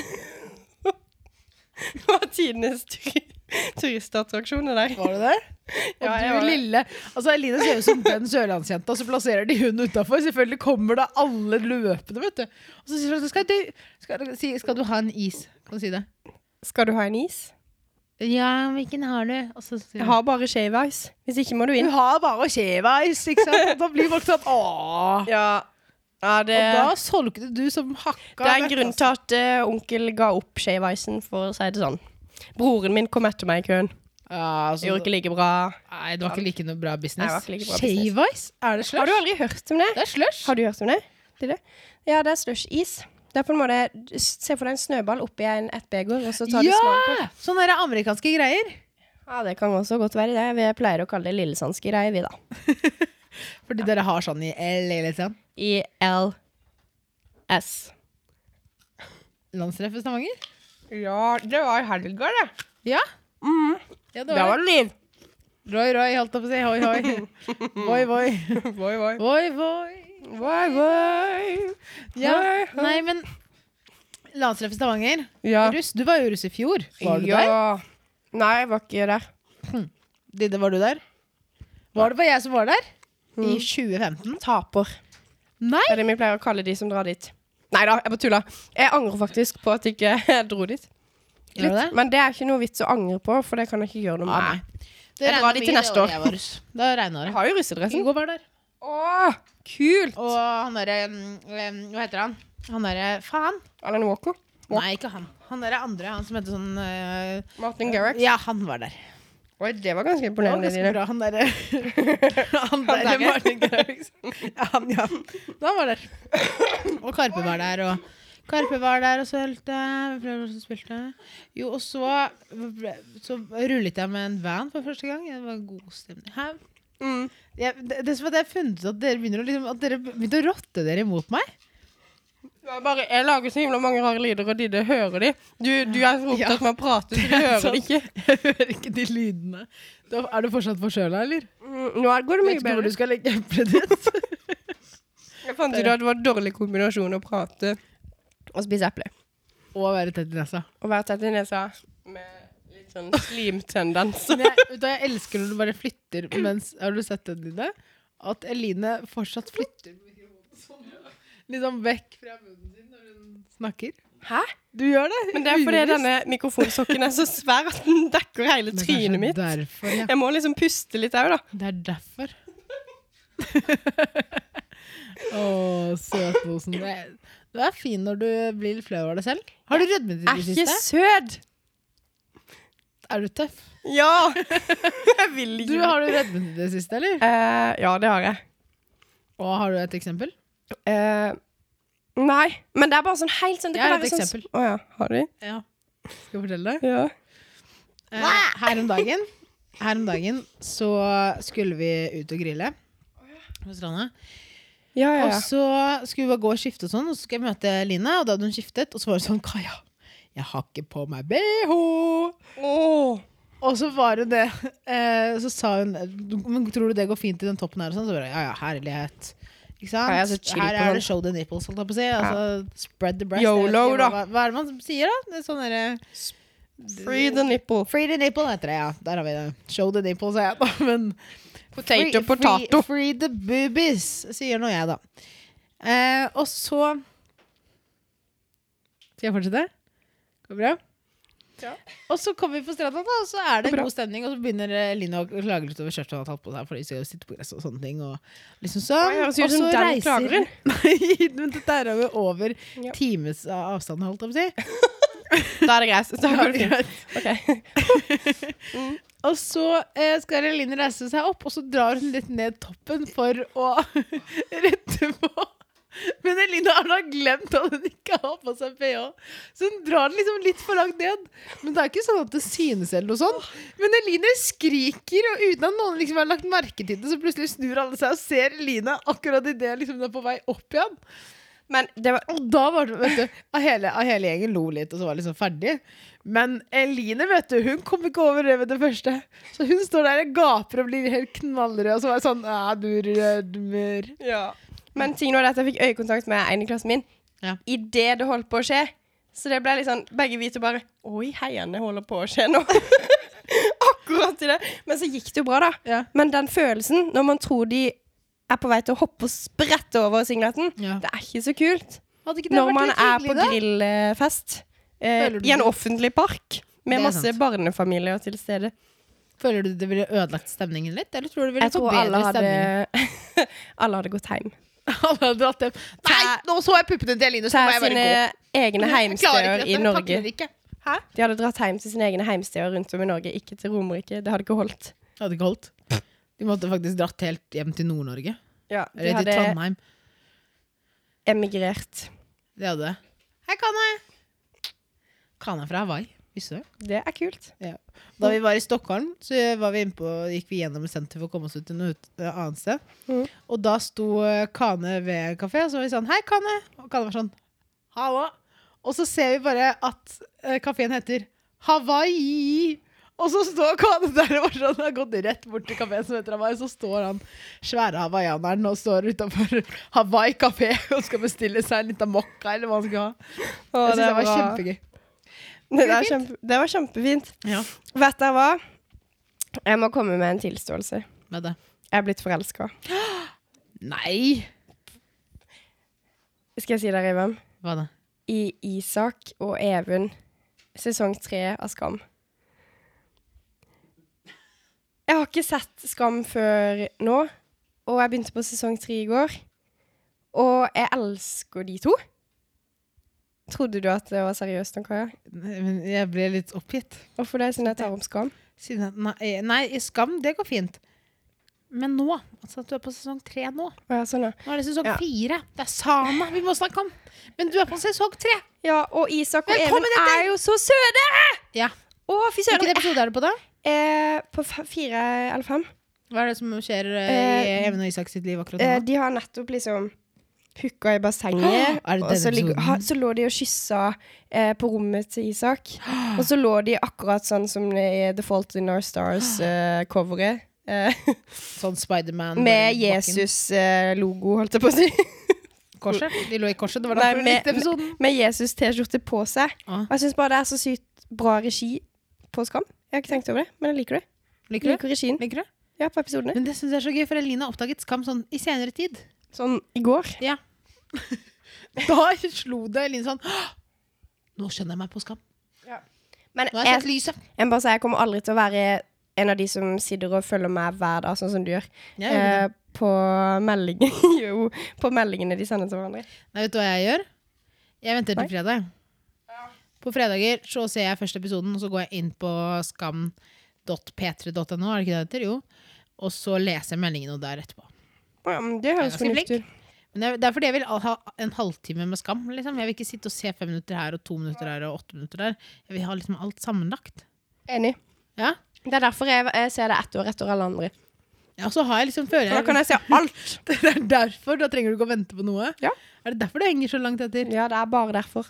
Speaker 1: det var tidenes tur turistattraksjon, det der.
Speaker 2: Var det der? Og
Speaker 1: Ja, jeg
Speaker 2: du
Speaker 1: var det.
Speaker 2: lille Altså, Eline ser ut som den sørlandsjenta, og så plasserer de hun utafor. Selvfølgelig kommer da alle løpende, vet du. Og så sier hun skal du, skal, du- si, skal du ha en is? Kan du si det?
Speaker 1: Skal du ha en is?
Speaker 2: Ja, hvilken har du? Og så sier
Speaker 1: Jeg
Speaker 2: hun
Speaker 1: har bare shave ice. Hvis ikke må du inn.
Speaker 2: Hun har bare skjeveis, ikke sant? Og da blir folk sånn åh.
Speaker 1: Ja, ja det,
Speaker 2: Og da solgte du som hakka.
Speaker 1: det er en
Speaker 2: møkk,
Speaker 1: grunn til
Speaker 2: altså.
Speaker 1: at eh, onkel ga opp shave icen, for å si det sånn. Broren min kom etter meg i køen.
Speaker 2: ja,
Speaker 1: Det
Speaker 2: altså,
Speaker 1: gjorde ikke like bra.
Speaker 2: Nei, det var ikke like noe bra
Speaker 1: Nei, det
Speaker 2: business.
Speaker 1: var ikke like bra business.
Speaker 2: Skjeveis? Er det slush?
Speaker 1: Har du aldri hørt om det?
Speaker 2: Det er slush.
Speaker 1: Har du hørt om det? Lille? Ja, det er slush-is. Det er på en måte, Se for deg en snøball oppi en, et beger, og så tar du smak på.
Speaker 2: ja! Sånne der amerikanske greier.
Speaker 1: Ja, det kan også godt være det. Vi pleier å kalle det lillesandske greier, vi, da.
Speaker 2: Fordi dere har sånn i LA, liksom.
Speaker 1: ILS.
Speaker 2: Landstreff i Stavanger?
Speaker 1: Ja, det var i helga, det.
Speaker 2: Ja. ja det var. det.
Speaker 1: liv.
Speaker 2: Roy, Roy, holdt jeg på å si. Hoi, hoi. Voi, voi.
Speaker 1: Voi, voi.
Speaker 2: Voi, voi.
Speaker 1: Voi, voi.
Speaker 2: Ja.
Speaker 1: Hoi, hoi.
Speaker 2: Nei, men Landstreff i Stavanger.
Speaker 1: Ja.
Speaker 2: Russ, du var jo russ i fjor. Var du der?
Speaker 1: Nei, jeg var ikke der.
Speaker 2: Didde, var du der? Var det bare jeg som var der? I 2015?
Speaker 1: Taper.
Speaker 2: Nei!
Speaker 1: Det er det vi pleier å kalle de som drar dit. Nei da, jeg bare tulla. Jeg angrer faktisk på at ikke jeg ikke dro dit.
Speaker 2: Gjør du det?
Speaker 1: Men det er ikke noe vits å angre på, for det kan jeg ikke gjøre noe med.
Speaker 2: Det
Speaker 1: Jeg
Speaker 2: regnet
Speaker 1: drar dit
Speaker 2: mye
Speaker 1: til
Speaker 2: det
Speaker 1: neste
Speaker 2: året
Speaker 1: år.
Speaker 2: jeg var russ. Da regna
Speaker 1: Jeg
Speaker 2: det.
Speaker 1: har jo russedressen.
Speaker 2: Ingo var der.
Speaker 1: Å, kult!
Speaker 2: Og han derre mm, Hva heter han? Han derre Faen!
Speaker 1: Alan Walker.
Speaker 2: Nei, ikke han. Han derre andre, han som heter sånn eh,
Speaker 1: Martin Garrix.
Speaker 2: Ja, han var der.
Speaker 1: Oi, det var ganske
Speaker 2: Det var
Speaker 1: imponerende.
Speaker 2: ganske
Speaker 1: Dine.
Speaker 2: bra, han derre Han derre
Speaker 1: derre.
Speaker 2: Martin Garrix. Ja, han, ja. Han var der. Og Karpe var der, og Karpe var der og sølte. spilte. Jo, og så, så rullet jeg med en van for første gang. Det var god stemning. Hæ?
Speaker 1: Mm.
Speaker 2: Jeg, det, det som er at jeg har funnet ut at dere begynner å, liksom, at dere begynte å rotte dere imot meg.
Speaker 1: Det var bare, jeg lager så himla mange rare lyder, og Didde hører de. Du, du er
Speaker 2: Ja.
Speaker 1: så opptatt med å prate, så du
Speaker 2: Det er
Speaker 1: hører
Speaker 2: sant.
Speaker 1: det ikke.
Speaker 2: Jeg hører ikke de lydene. Da, er du fortsatt forkjøla, eller?
Speaker 1: Mm, Nå går det
Speaker 2: Vet
Speaker 1: mye
Speaker 2: ikke hvor
Speaker 1: bedre.
Speaker 2: du skal legge eplet ditt.
Speaker 1: Jeg fant ut at det var en dårlig kombinasjon å prate og spise eple.
Speaker 2: Og være tett i nesa.
Speaker 1: Og være tett i nesa med litt sånn slimtendens.
Speaker 2: Men jeg, vet du, jeg elsker når du bare flytter mens Har du sett den dine? At Eline liksom fortsatt flytter mikrofonen sånn. Litt sånn vekk fra munnen sin når hun snakker.
Speaker 1: Hæ?
Speaker 2: Du gjør det?
Speaker 1: Men det er fordi
Speaker 2: ubevisst.
Speaker 1: denne mikrofonsokken er så svær at den dekker hele
Speaker 2: Men kanskje
Speaker 1: trynet mitt.
Speaker 2: Derfor, ja.
Speaker 1: Jeg må liksom puste litt òg, da.
Speaker 2: Det er derfor. Å, søtposen. Det er- Du er fin når du blir litt flau over deg selv. Har du rødmet i
Speaker 1: Er
Speaker 2: det
Speaker 1: ikke
Speaker 2: siste?
Speaker 1: søt!
Speaker 2: Er du tøff?
Speaker 1: Ja! Jeg vil
Speaker 2: Du,
Speaker 1: ikke.
Speaker 2: har du rødmet i det siste, eller?
Speaker 1: Eh, ja, det har jeg.
Speaker 2: Og har du et eksempel?
Speaker 1: Eh, nei. Men det er bare sånn helt sånn det
Speaker 2: Jeg har
Speaker 1: kan
Speaker 2: et
Speaker 1: være sånn-
Speaker 2: eksempel.
Speaker 1: Å ja. Har du?
Speaker 2: Ja. Skal jeg fortelle deg?
Speaker 1: Ja.
Speaker 2: Eh, her om dagen Her om dagen så skulle vi ut og grille på stranda.
Speaker 1: Ja, ja,
Speaker 2: Og
Speaker 1: ja.
Speaker 2: så skulle vi bare gå og skifte og sånn, og så skulle jeg møte Line, og da hadde hun skiftet, og så var det sånn Kaja, jeg har ikke på meg BH.
Speaker 1: Åh.
Speaker 2: Og så var det det. Eh, så sa hun Men tror du det går fint i den toppen her? Og sånn, så bare ja ja, herlighet. Ikke sant?
Speaker 1: Ja, jeg er så chill
Speaker 2: her
Speaker 1: på
Speaker 2: er
Speaker 1: den.
Speaker 2: det show the nipples, holdt jeg på å si. Altså, spread the breast.
Speaker 1: YOLO,
Speaker 2: Jeg vet ikke
Speaker 1: da.
Speaker 2: Hva, hva er det man sier, da? Det er sånn derre
Speaker 1: Free the nipple.
Speaker 2: Free the nipple heter det, ja. Der har vi det. Show the nipple, sa jeg da. Men
Speaker 1: Potato,
Speaker 2: free,
Speaker 1: potato.
Speaker 2: Free, free the boobies, sier nå jeg, da. Eh, og så Skal jeg fortsette? Går det bra?
Speaker 1: Ja.
Speaker 2: Og så kommer vi på stranda, da, og så er det
Speaker 1: Går bra.
Speaker 2: god stemning. Og så begynner eh, Line å klage litt over skjørtet hun har tatt på seg. For de skal jo sitte på gress og sånne ting. Og liksom sånn.
Speaker 1: Oi, høres ut som den klager hun.
Speaker 2: Nei, men dette er jo over
Speaker 1: Ja.
Speaker 2: times avstand, holdt jeg på å si.
Speaker 1: Da er det greit. Da går det
Speaker 2: Ja,
Speaker 1: fint. Ok.
Speaker 2: Og så eh, skal Eline reise seg opp, og så drar hun litt ned toppen for å rette på. Men Eline har da glemt at hun ikke har på seg ph, så hun drar den liksom litt for langt ned. Men det er ikke sånn at det synes eller noe sånt. Men Eline skriker, og uten at noen liksom har lagt merke til det, så plutselig snur alle seg og ser Eline akkurat idet liksom hun er på vei opp igjen.
Speaker 1: Men det var
Speaker 2: Og da var det, vet du, av hele, av hele gjengen lo litt, og så var det liksom ferdig. Men Eline, vet du, hun kom ikke over det med det første. Så hun står der og gaper og blir helt knallrød, og så var det sånn Æ, du rødmer.
Speaker 1: Ja. Men ting nå er at jeg fikk øyekontakt med en i klassen min
Speaker 2: Ja.
Speaker 1: I idet det holdt på å skje. Så det ble litt sånn Begge vi to bare Oi, heiene holder på å skje nå. Akkurat i det. Men så gikk det jo bra, da.
Speaker 2: Ja.
Speaker 1: Men den følelsen når man tror de er på vei til å hoppe og sprette over singleten,
Speaker 2: Ja.
Speaker 1: det er ikke så kult.
Speaker 2: Hadde ikke det
Speaker 1: Når
Speaker 2: vært
Speaker 1: man
Speaker 2: litt
Speaker 1: er på
Speaker 2: hyggelig, da?
Speaker 1: grillfest eh,
Speaker 2: Føler du
Speaker 1: i en
Speaker 2: det?
Speaker 1: offentlig park
Speaker 2: Det
Speaker 1: med
Speaker 2: er
Speaker 1: masse
Speaker 2: sant.
Speaker 1: barnefamilier til stede.
Speaker 2: Føler du det ville ødelagt stemningen litt? Eller tror du det ville
Speaker 1: Jeg tror alle
Speaker 2: forbedret
Speaker 1: hadde,
Speaker 2: stemningen?
Speaker 1: alle hadde gått hjem.
Speaker 2: Alle hadde dratt hjem. Nei, nå så jeg puppene til Eline, så nå
Speaker 1: Til
Speaker 2: må jeg bare
Speaker 1: sine
Speaker 2: gå.
Speaker 1: egne
Speaker 2: Jeg klarer ikke
Speaker 1: heimsteder
Speaker 2: dette,
Speaker 1: i
Speaker 2: jeg
Speaker 1: Norge.
Speaker 2: takler ikke.
Speaker 1: De hadde dratt hjem til sine egne heimsteder rundt om i Norge, ikke til Romerike. Det hadde ikke holdt.
Speaker 2: Hadde ikke holdt. De måtte faktisk dratt helt hjem til Nord-Norge.
Speaker 1: Ja, de
Speaker 2: Eller til
Speaker 1: hadde
Speaker 2: Trondheim.
Speaker 1: emigrert.
Speaker 2: Det hadde det. Her kan jeg. Kan jeg fra Hawaii? Visste du det?
Speaker 1: Det er kult.
Speaker 2: Da vi var i Stockholm, så var vi inne på, gikk vi gjennom et senter for å komme oss ut til noe ut- eh, annet sted.
Speaker 1: Mhm.
Speaker 2: Og da sto eh, Kane ved en kafé, og så var vi sånn Hei, Kane. Og Kane var sånn Hallo. Og så ser vi bare at eh, kafeen heter Hawaii. Og så står Kane der og var sånn, har gått rett bort til kafeen som heter Hawaii. Så står han svære hawaiianeren og står utafor Hawaii kafé og skal bestille seg en liten mokka eller hva han skal ha. Jeg
Speaker 1: Og
Speaker 2: synes det var kjempegøy.
Speaker 1: det, er kjempe, det var kjempefint.
Speaker 2: Ja,
Speaker 1: Vet dere hva? Jeg må komme med en tilståelse.
Speaker 2: med det.
Speaker 1: Jeg er blitt forelska.
Speaker 2: Nei!
Speaker 1: Skal jeg si dere hvem?
Speaker 2: Hva da?
Speaker 1: I Isak og Even, sesong tre av Skam. Jeg har ikke sett Skam før nå, og jeg begynte på sesong tre i går. Og jeg elsker de to. Trodde du at det var seriøst nå, Kaja?
Speaker 2: Nei, Men jeg ble litt oppgitt.
Speaker 1: Hvorfor det, siden jeg tar om Skam?
Speaker 2: Siden jeg, nei, eh, nei, i Skam, det går fint. Men nå. Altså at du er på sesong tre nå.
Speaker 1: Å, ja, sånn, ja.
Speaker 2: Nå er det sesong
Speaker 1: Ja.
Speaker 2: fire. Det er Sana vi må snakke om. Men du er på sesong tre.
Speaker 1: ja, og Isak og
Speaker 2: Velkommen
Speaker 1: Even er jo så søte!
Speaker 2: Ja.
Speaker 1: Å, fy
Speaker 2: Hvilken
Speaker 1: søren.
Speaker 2: episode er det på, da?
Speaker 1: Eh, på f- fire eller fem.
Speaker 2: Hva er det som skjer eh, i
Speaker 1: Eh,
Speaker 2: Even og Isak sitt liv akkurat
Speaker 1: Eh,
Speaker 2: nå?
Speaker 1: de har nettopp liksom hooka i bassenget.
Speaker 2: Åh, er det
Speaker 1: og så,
Speaker 2: denne
Speaker 1: ligger,
Speaker 2: episoden?
Speaker 1: ha, så lå de og kyssa eh, på rommet til Isak. Og så lå de akkurat sånn som i The Fault in Our Stars-coveret. eh,
Speaker 2: Sånn Spiderman bare
Speaker 1: med
Speaker 2: i bakken.
Speaker 1: Jesus-logo, holdt jeg på å si.
Speaker 2: Korset? De lå i korset. Det var
Speaker 1: Nei,
Speaker 2: derfor du
Speaker 1: med-
Speaker 2: likte episoden.
Speaker 1: Med Jesus-T-skjorte på seg.
Speaker 2: Ah.
Speaker 1: Og jeg syns bare det er så sykt bra regi på Skam. Jeg har ikke tenkt over det, men jeg liker det. Jeg
Speaker 2: Liker du?
Speaker 1: liker regien.
Speaker 2: Liker du?
Speaker 1: Ja, på episodene.
Speaker 2: Men det syns jeg er så gøy, for Elina oppdaget Skam sånn i senere tid.
Speaker 1: Sånn i går.
Speaker 2: Da slo det Elina sånn «Åh, Nå skjønner jeg meg på skam.
Speaker 1: Men
Speaker 2: Nå har jeg
Speaker 1: jeg,
Speaker 2: sett lyset.
Speaker 1: jeg må bare sier, jeg kommer aldri til å være en av de som sitter og følger med hver dag, sånn som du gjør.
Speaker 2: Jeg gjør ikke det.
Speaker 1: Eh, på, melding, jo, på meldingene de sender til hverandre.
Speaker 2: Nei, vet du hva jeg gjør? Jeg venter til fredag. På fredager så ser jeg første episoden, og så går jeg inn på skam.p3.no, er det ikke det det heter? Jo. Og så leser jeg meldingene og der etterpå.
Speaker 1: Ja, men Mm, det
Speaker 2: Jeg
Speaker 1: høres
Speaker 2: er ganske
Speaker 1: fornuftig ut.
Speaker 2: Men det er- det er fordi jeg vil ha en halvtime med skam. Liksom. Jeg vil ikke sitte og se fem minutter her og to minutter her og åtte minutter der. Jeg vil ha liksom alt sammenlagt.
Speaker 1: Enig.
Speaker 2: Ja.
Speaker 1: Det er derfor jeg, jeg ser det ett år etter alle andre.
Speaker 2: Ja, og så har jeg liksom føler
Speaker 1: For da
Speaker 2: jeg-
Speaker 1: kan jeg se alt.
Speaker 2: Det er derfor, da trenger du ikke å vente på noe.
Speaker 1: Ja.
Speaker 2: Er det derfor du henger så langt etter?
Speaker 1: Ja, det er bare derfor.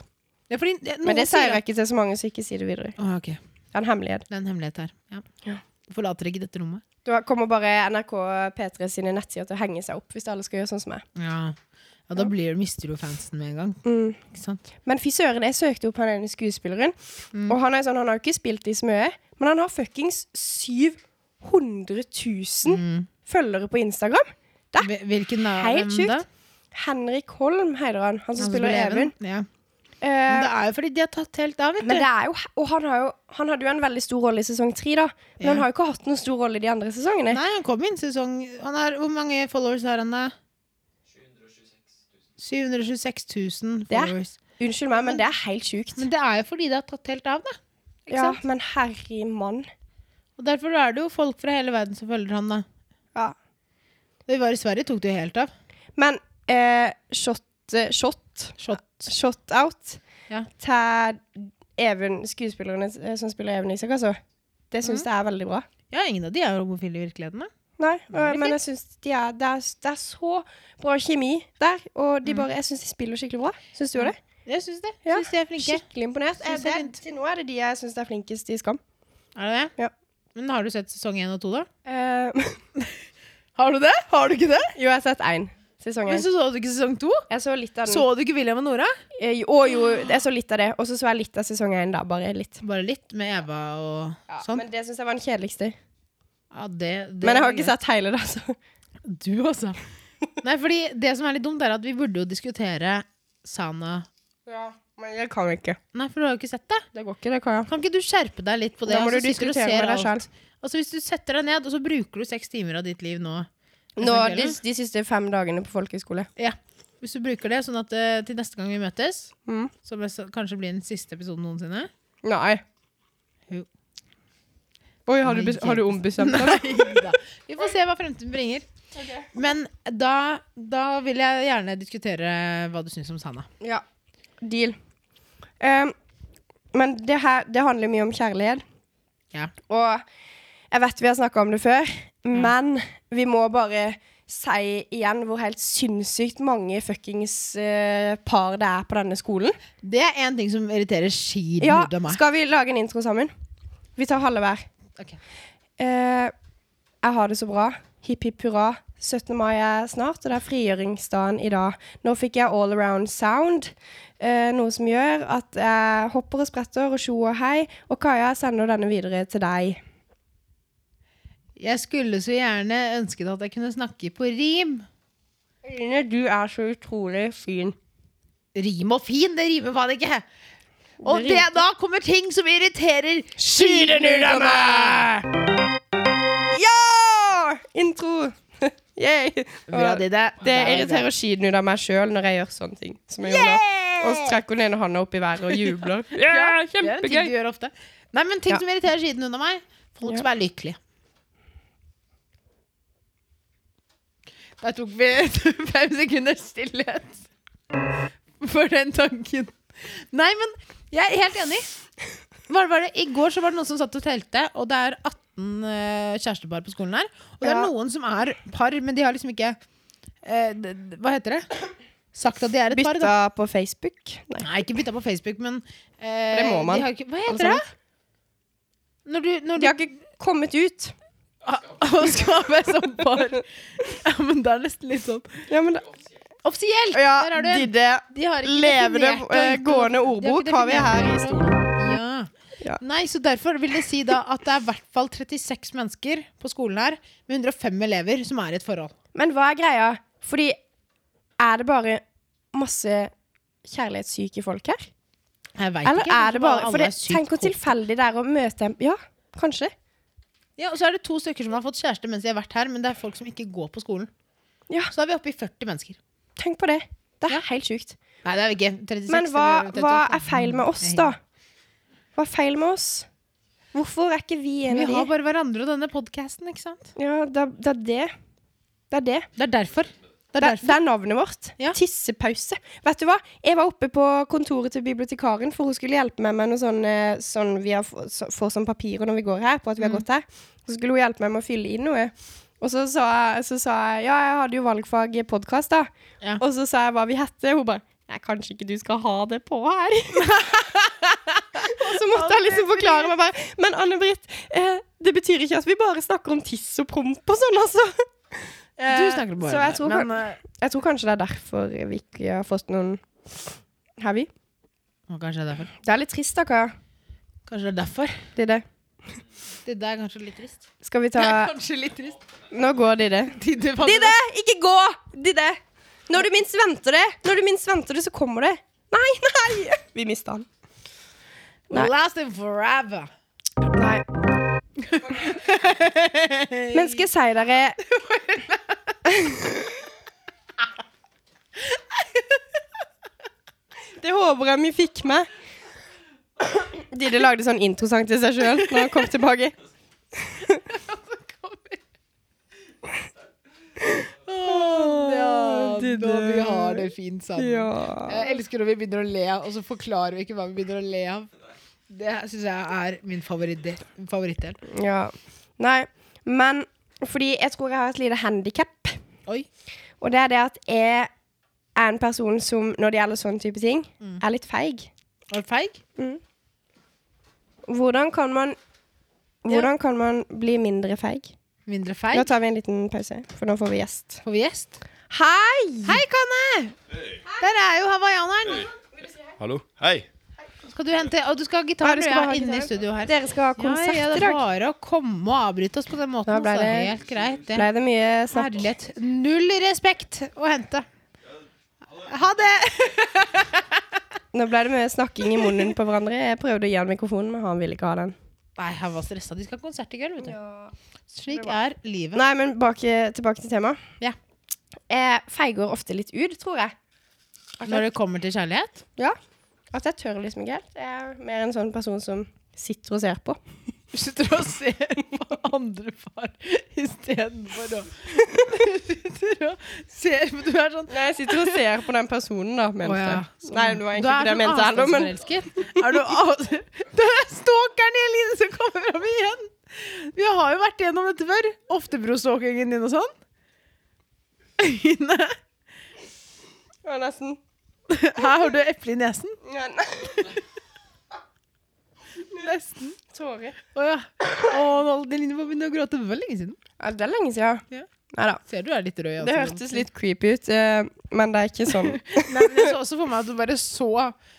Speaker 2: Det er fordi, det,
Speaker 1: Men det sier jeg ikke til så mange, så ikke si det videre.
Speaker 2: Å, ok.
Speaker 1: Det er en hemmelighet.
Speaker 2: Det er en hemmelighet her. Ja.
Speaker 1: Ja.
Speaker 2: Du forlater ikke dette rommet.
Speaker 1: Da kommer bare NRK P3 sine nettsider til å henge seg opp hvis alle skal gjøre sånn som meg.
Speaker 2: Ja, ja da blir, du- mister du fansen med en gang.
Speaker 1: Mm.
Speaker 2: Ikke sant?
Speaker 1: Men fy søren, jeg søkte opp han ene skuespilleren.
Speaker 2: Mm.
Speaker 1: Og han, er sånn, han har jo ikke spilt i så mye, men han har fuckings 700 000
Speaker 2: Mm.
Speaker 1: følgere på Instagram. Da.
Speaker 2: Hvil- Hvilken da?
Speaker 1: Helt
Speaker 2: hvem da?
Speaker 1: sjukt. Henrik Holm heter han, han som
Speaker 2: Han
Speaker 1: spiller Even. Mm.
Speaker 2: Ja.
Speaker 1: Eh,
Speaker 2: Men det er jo fordi de har tatt helt av, vet
Speaker 1: men
Speaker 2: du.
Speaker 1: det er jo, og han, har jo, han hadde jo en veldig stor rolle i sesong tre, da. Men
Speaker 2: Ja.
Speaker 1: han har jo ikke hatt noen stor rolle i de andre sesongene.
Speaker 2: Nei, han kom inn sesong han har, Hvor mange followers har han da? 726 000
Speaker 1: Det er-
Speaker 2: followers.
Speaker 1: Unnskyld meg, men det er helt sjukt.
Speaker 2: Men det er jo fordi det har tatt helt av, da. Ikke
Speaker 1: Ja,
Speaker 2: sant?
Speaker 1: men herre mann.
Speaker 2: Og derfor er det jo folk fra hele verden som følger han, da.
Speaker 1: Ja.
Speaker 2: Da vi var i Sverige, tok det jo helt av.
Speaker 1: Men eh, shot, eh, shot
Speaker 2: Shot.
Speaker 1: Shot out
Speaker 2: Ja.
Speaker 1: til Even, skuespillerne eh, som spiller Even Isak, altså. Det syns jeg er veldig bra.
Speaker 2: Ja, ingen av de er homofile i virkeligheten, da.
Speaker 1: Nei,
Speaker 2: det er
Speaker 1: øh, men jeg synes de er, det, er, det er så bra kjemi der, og de bare, jeg syns de spiller skikkelig bra. Syns du det?
Speaker 2: Jeg syns det.
Speaker 1: Ja.
Speaker 2: Syns de er flinke.
Speaker 1: Skikkelig imponert.
Speaker 2: Synes
Speaker 1: Eh,
Speaker 2: jeg
Speaker 1: det, til nå er det de jeg syns er flinkest i Skam.
Speaker 2: Er det det?
Speaker 1: Ja.
Speaker 2: Men har du sett sesong én og to, da?
Speaker 1: Eh,
Speaker 2: Har du det? Har du ikke det?
Speaker 1: jo, jeg har sett én sesong.
Speaker 2: Men
Speaker 1: én.
Speaker 2: så så du ikke sesong to?
Speaker 1: Jeg så litt av den.
Speaker 2: Så du ikke William og Nora?
Speaker 1: Eh, jo, å, jo, jeg så litt av det, og så så jeg litt av sesong én, da. Bare litt.
Speaker 2: Bare litt med Eva og
Speaker 1: Ja,
Speaker 2: sånn.
Speaker 1: Men det syns jeg var den kjedeligste.
Speaker 2: ja, det, det
Speaker 1: Men jeg har ikke sett hele, da. Så.
Speaker 2: Du, altså. Nei, fordi det som er litt dumt, er at vi burde jo diskutere Sana
Speaker 1: Ja, men jeg kan ikke.
Speaker 2: Nei, for du har jo ikke sett det.
Speaker 1: Det går ikke, det, Kaja.
Speaker 2: Kan ikke du skjerpe deg litt på det?
Speaker 1: Da må
Speaker 2: og så
Speaker 1: du
Speaker 2: sitter og
Speaker 1: diskutere
Speaker 2: ser
Speaker 1: med deg
Speaker 2: alt? Altså, hvis du setter deg ned, og så bruker du seks timer av ditt liv nå
Speaker 1: Nå, de, de siste fem dagene på folkehøyskole.
Speaker 2: Ja. Hvis du bruker det sånn at eh, til neste gang vi møtes,
Speaker 1: Mm.
Speaker 2: som jeg sa- kanskje blir den siste episoden noensinne
Speaker 1: Nei.
Speaker 2: Jo.
Speaker 1: Oi,
Speaker 2: har du bes- har du
Speaker 1: ombestemt
Speaker 2: Neida. Vi får se hva fremtiden bringer. Men da, da vil jeg gjerne diskutere hva du syns om Sanna.
Speaker 1: Ja. Deal. Ehm, men det her det handler mye om kjærlighet.
Speaker 2: Ja.
Speaker 1: Og jeg vet vi har snakka om det før, men vi må bare si igjen hvor helt sinnssykt mange fuckings eh, par det er på denne skolen.
Speaker 2: Det er én ting som irriterer skiten
Speaker 1: Ja,
Speaker 2: ut av meg.
Speaker 1: skal vi lage en intro sammen? Vi tar halve hver.
Speaker 2: Ok.
Speaker 1: Eh, jeg har det så bra. Hipp hipp hurra. 17. mai er snart, og det er frigjøringsdagen i dag. Nå fikk jeg all around sound, eh, noe som gjør at jeg hopper og spretter og tjo og hei. Og Kaja jeg sender denne videre til deg.
Speaker 2: Jeg skulle så gjerne ønsket at jeg kunne snakke på rim.
Speaker 1: Eline, du er så utrolig fin.
Speaker 2: Rim og fin, det rimer faen ikke! Og
Speaker 1: Det
Speaker 2: det,
Speaker 1: rimte.
Speaker 2: da kommer ting som irriterer
Speaker 1: Skyden ut av meg! Ja! Intro. Yay.
Speaker 2: Bra,
Speaker 1: Og
Speaker 2: Didde.
Speaker 1: Det
Speaker 2: Der,
Speaker 1: irriterer skiden ut av meg sjøl når jeg gjør sånne ting. Som jeg gjorde nå. Og så trekker hun ene hånda opp i været og jubler. Ja,
Speaker 2: Det er en ting du gjør ofte. Nei, men ting
Speaker 1: Ja.
Speaker 2: som irriterer skiten unna meg. Folk som er lykkelige. Der tok vi fem sekunder stillhet for den tanken. Nei, men jeg er helt enig. Var, var det, I går så var det noen som satt og telte, og det er 18 eh, kjærestepar på skolen her. Og det er
Speaker 1: Ja.
Speaker 2: noen som er par, men de har liksom ikke eh, d- d- Hva heter det? Sagt at de er et par. Da.
Speaker 1: Bytta på Facebook. Nei.
Speaker 2: Nei, ikke bytta på Facebook, men eh,
Speaker 1: Det må man.
Speaker 2: de har ikke, Hva
Speaker 1: Alle
Speaker 2: heter det? Når du, når
Speaker 1: De
Speaker 2: du
Speaker 1: har ikke kommet ut.
Speaker 2: og skal være som par Ja, men det er nesten litt sånn
Speaker 1: Ja, men da,
Speaker 2: Offisielt!
Speaker 1: ja,
Speaker 2: Der har du en.
Speaker 1: Didde.
Speaker 2: De har ikke
Speaker 1: Levende
Speaker 2: definert
Speaker 1: eh,
Speaker 2: det. De
Speaker 1: gående
Speaker 2: har
Speaker 1: ordbok
Speaker 2: ikke
Speaker 1: har vi
Speaker 2: definert
Speaker 1: her i
Speaker 2: det.
Speaker 1: stolen.
Speaker 2: Ja.
Speaker 1: Ja.
Speaker 2: Nei, så derfor vil det si da at det er i hvert fall 36 mennesker på skolen her med 105 elever som er i et forhold.
Speaker 1: Men hva er greia? Fordi er det bare masse kjærlighetssyke folk her?
Speaker 2: Jeg vet ikke.
Speaker 1: Eller
Speaker 2: kanskje
Speaker 1: er det bare For
Speaker 2: alle
Speaker 1: det,
Speaker 2: er sykt
Speaker 1: tenk hvor
Speaker 2: kåte.
Speaker 1: tilfeldig det er å møte en Ja, kanskje.
Speaker 2: Ja, og så er det to stykker som har fått kjæreste mens de har vært her, men det er folk som ikke går på skolen.
Speaker 1: Ja.
Speaker 2: Så er vi oppe i 40 mennesker.
Speaker 1: Tenk på det. Det er helt sjukt.
Speaker 2: Nei, det er vi ikke. 36
Speaker 1: Men hva,
Speaker 2: eller 38.
Speaker 1: hva er feil med oss, da? Hva er feil med oss? Hvorfor er ikke vi en
Speaker 2: Vi
Speaker 1: av
Speaker 2: har
Speaker 1: de?
Speaker 2: bare hverandre og denne podkasten, ikke sant?
Speaker 1: Ja, det, det er det. Det er det.
Speaker 2: Det er derfor. Det er
Speaker 1: Det,
Speaker 2: derfor.
Speaker 1: det er navnet vårt.
Speaker 2: Ja.
Speaker 1: Tissepause. Vet du hva? Jeg var oppe på kontoret til bibliotekaren, for hun skulle hjelpe meg med noe sånn, eh, sånn vi har få- så- får sånn papirer når vi går her, på at vi har
Speaker 2: Mm.
Speaker 1: gått her. Så skulle hun hjelpe meg med å fylle inn noe. Og så sa, jeg- så sa jeg ja, jeg hadde jo valgfag i podkast, da.
Speaker 2: Ja.
Speaker 1: Og så sa jeg hva vi hette. Hun bare Nei, kanskje ikke du skal ha det på her. og så måtte jeg liksom forklare meg bare Men Anne-Britt, eh, det betyr ikke at vi bare snakker om tiss og promp og sånn, altså.
Speaker 2: Du
Speaker 1: Eh,
Speaker 2: snakker om
Speaker 1: så jeg tror
Speaker 2: men,
Speaker 1: kan- jeg tror kanskje det er derfor vi ikke har fått noen Har vi?
Speaker 2: eh, å, Kanskje det er derfor.
Speaker 1: Det er litt trist, da, Kaja.
Speaker 2: Kanskje det er derfor.
Speaker 1: Det er det.
Speaker 2: Det der er kanskje litt trist.
Speaker 1: Skal vi ta
Speaker 2: Kanskje litt trist.
Speaker 1: Nå går Didde.
Speaker 2: Didde, hva-
Speaker 1: Didde! Ikke gå! Didde! Når du minst venter det, Når du minst venter det, så kommer det. Nei, nei! Vi mista han. Nei.
Speaker 2: Lasting forever.
Speaker 1: Nei. Men skal jeg si dere Det håper jeg vi fikk med. Didde lagde sånn introsang til seg sjøl når han kom tilbake.
Speaker 2: Ja,
Speaker 1: Didde.
Speaker 2: når vi har det fint sammen.
Speaker 1: Ja.
Speaker 2: Jeg elsker når vi begynner å le av, og så forklarer vi ikke hva vi begynner å le av. Det syns jeg er min favorittdel. favorittdel.
Speaker 1: ja. Nei, men fordi jeg tror jeg har et lite handikap.
Speaker 2: Oi.
Speaker 1: Og det er det at jeg er en person som, når det gjelder sånne type ting, er litt feig.
Speaker 2: Var det feig?
Speaker 1: Hvordan kan man Hvordan kan man bli mindre feig?
Speaker 2: Mindre feig?
Speaker 1: Nå tar vi en liten pause, for nå får vi gjest.
Speaker 2: Får vi gjest?
Speaker 1: Hei!
Speaker 2: Hei, Kanne! Der er jo hawaiianeren.
Speaker 4: Hallo. Hei.
Speaker 2: Skal du hente Og du skal ha
Speaker 1: Ja,
Speaker 2: gitar
Speaker 1: du
Speaker 2: du
Speaker 1: skal bare ha
Speaker 2: er inne i
Speaker 1: gitar.
Speaker 2: studio her.
Speaker 1: Dere skal ha
Speaker 2: ja,
Speaker 1: konsert
Speaker 2: ja,
Speaker 1: i
Speaker 2: det er
Speaker 1: dag.
Speaker 2: bare å komme og avbryte oss på den måten.
Speaker 1: Da ble
Speaker 2: altså.
Speaker 1: det-
Speaker 2: Helt greit, det.
Speaker 1: Ble det mye snakk?
Speaker 2: Herlighet. Null respekt å hente. Ha det!
Speaker 1: Nå ble det mye snakking i munnen på hverandre. Jeg prøvde å gi han mikrofonen, men han ville ikke ha den.
Speaker 2: Nei, han var stressa. De skal ha konsert i kveld, vet du. Slik er livet.
Speaker 1: Nei, men bak, eh, tilbake til temaet.
Speaker 2: Ja.
Speaker 1: Jeg feiger ofte litt ut, tror jeg. At
Speaker 2: Når
Speaker 1: jeg,
Speaker 2: det kommer til kjærlighet.
Speaker 1: ja, at jeg tør liksom ikke helt. Jeg er mer en sånn person som sitter og ser på.
Speaker 2: Du sitter og ser på andre par istedenfor å Sitter og ser men Du er sånn
Speaker 1: Nei, jeg sitter og ser på den personen, da, mente
Speaker 2: Å, ja.
Speaker 1: jeg. Nei, det
Speaker 2: Du
Speaker 1: var egentlig ikke
Speaker 2: er
Speaker 1: det jeg
Speaker 2: sånn
Speaker 1: mente heller, men
Speaker 2: avstandsforelsket. Er du av- Det er stalkeren i Eline som kommer fram igjen! Vi har jo vært gjennom dette før. Oftebro-stalkingen din og sånn. Ine,
Speaker 1: ja, nesten.
Speaker 2: her har du eple i nesen.
Speaker 1: Ja, nei.
Speaker 2: Nesten.
Speaker 1: Tårer.
Speaker 2: Å ja. Å, nå Eline må begynne å gråte. Det var lenge siden.
Speaker 1: Ja, det er lenge siden.
Speaker 2: Ja.
Speaker 1: Nei da.
Speaker 2: Ser du er litt altså. rød. i
Speaker 1: Det
Speaker 2: ansiktet.
Speaker 1: hørtes litt creepy ut, eh, men det er ikke sånn.
Speaker 2: Nei, men Jeg så også for meg at du bare så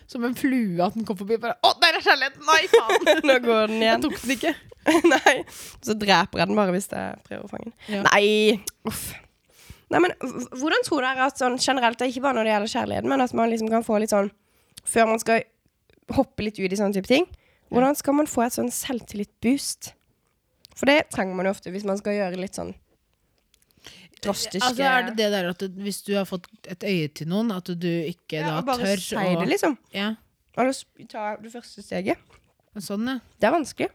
Speaker 2: som en flue at den kom forbi. Bare, å, der er kjærligheten! Nei, faen!
Speaker 1: Nå går den
Speaker 2: Jeg
Speaker 1: igjen.
Speaker 2: tok den ikke.
Speaker 1: Nei. Så dreper jeg den bare hvis jeg prøver å fange den.
Speaker 2: Ja.
Speaker 1: Nei! Uff. Nei, men h- hvordan tror dere at sånn generelt, det er ikke bare når det gjelder kjærligheten, men at man liksom kan få litt sånn Før man skal hoppe litt ut i sånne type ting, hvordan skal man få et sånn selvtillit-boost? For det trenger man jo ofte hvis man skal gjøre litt sånn drastiske
Speaker 2: Altså, er det det der at du, hvis du har fått et øye til noen, at du ikke
Speaker 1: Ja,
Speaker 2: da
Speaker 1: bare
Speaker 2: tør
Speaker 1: si
Speaker 2: å
Speaker 1: det, liksom.
Speaker 2: ja,
Speaker 1: Og da ta det første steget.
Speaker 2: Sånn, ja.
Speaker 1: Det er vanskelig.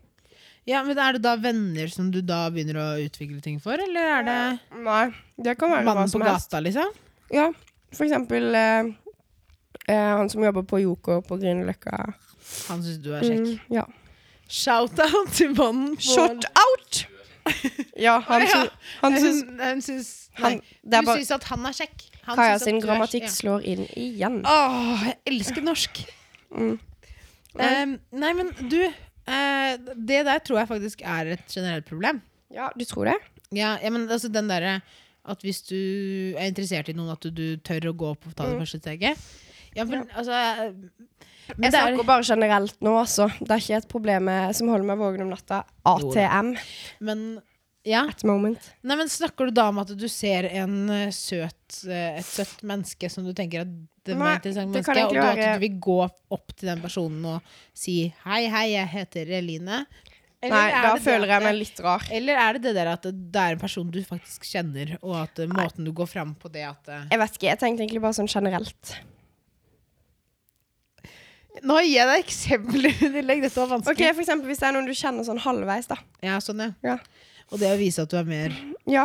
Speaker 2: ja. Men er det da venner som du da begynner å utvikle ting for, eller er det
Speaker 1: Nei, det kan være hva
Speaker 2: mannen på
Speaker 1: som helst.
Speaker 2: gata, liksom?
Speaker 1: Ja, for eksempel eh, eh, han som jobber på Joko på Grünerløkka.
Speaker 2: Han syns du er kjekk.
Speaker 1: Mm, ja.
Speaker 2: Shout-out til mannen på
Speaker 1: Shot out! ja, han,
Speaker 2: Å, ja.
Speaker 1: sy han
Speaker 2: Hun,
Speaker 1: syns
Speaker 2: hun syns Nei,
Speaker 1: han,
Speaker 2: du
Speaker 1: Det er bare
Speaker 2: syns at han er kjekk. Han
Speaker 1: Kaja
Speaker 2: syns at
Speaker 1: sin
Speaker 2: du er-
Speaker 1: grammatikk
Speaker 2: ja.
Speaker 1: slår inn igjen.
Speaker 2: Åh, jeg elsker norsk.
Speaker 1: Mm.
Speaker 2: Ehm, nei, men du eh, Det der tror jeg faktisk er et generelt problem.
Speaker 1: Ja, du tror det?
Speaker 2: Ja, ja men altså den derre at hvis du er interessert i noen, at du, du tør å gå opp og ta det første steget. Ja, men altså eh, men
Speaker 1: Jeg
Speaker 2: det er-
Speaker 1: snakker bare eh, generelt nå, altså. Det er ikke et problem med- som holder meg våken om natta.
Speaker 2: Jo da.
Speaker 1: ATM.
Speaker 2: Men Ja.
Speaker 1: At the moment.
Speaker 2: Nei, men Snakker du da om at du ser en eh, søt, eh, et søtt menneske som du tenker at det var
Speaker 1: Nei,
Speaker 2: et interessant
Speaker 1: det
Speaker 2: menneske, og
Speaker 1: kan egentlig
Speaker 2: da at
Speaker 1: være-
Speaker 2: du vil gå opp til den personen og si 'hei, hei, jeg heter Eline'? Eller
Speaker 1: Nei,
Speaker 2: er det
Speaker 1: da
Speaker 2: det
Speaker 1: føler jeg
Speaker 2: at-
Speaker 1: meg litt rar.
Speaker 2: Eller er det det der at det er en person du faktisk kjenner, og at eh, måten du går fram på det at eh,
Speaker 1: Jeg vet ikke, jeg tenkte egentlig bare sånn generelt.
Speaker 2: Nå gir jeg deg eksempler, Dillegg. Dette var
Speaker 1: Ok,
Speaker 2: vanskelig.
Speaker 1: for eksempel hvis det er noen du kjenner sånn halvveis, da.
Speaker 2: Ja, sånn, ja.
Speaker 1: Ja.
Speaker 2: Og det å vise at du er mer
Speaker 1: ja.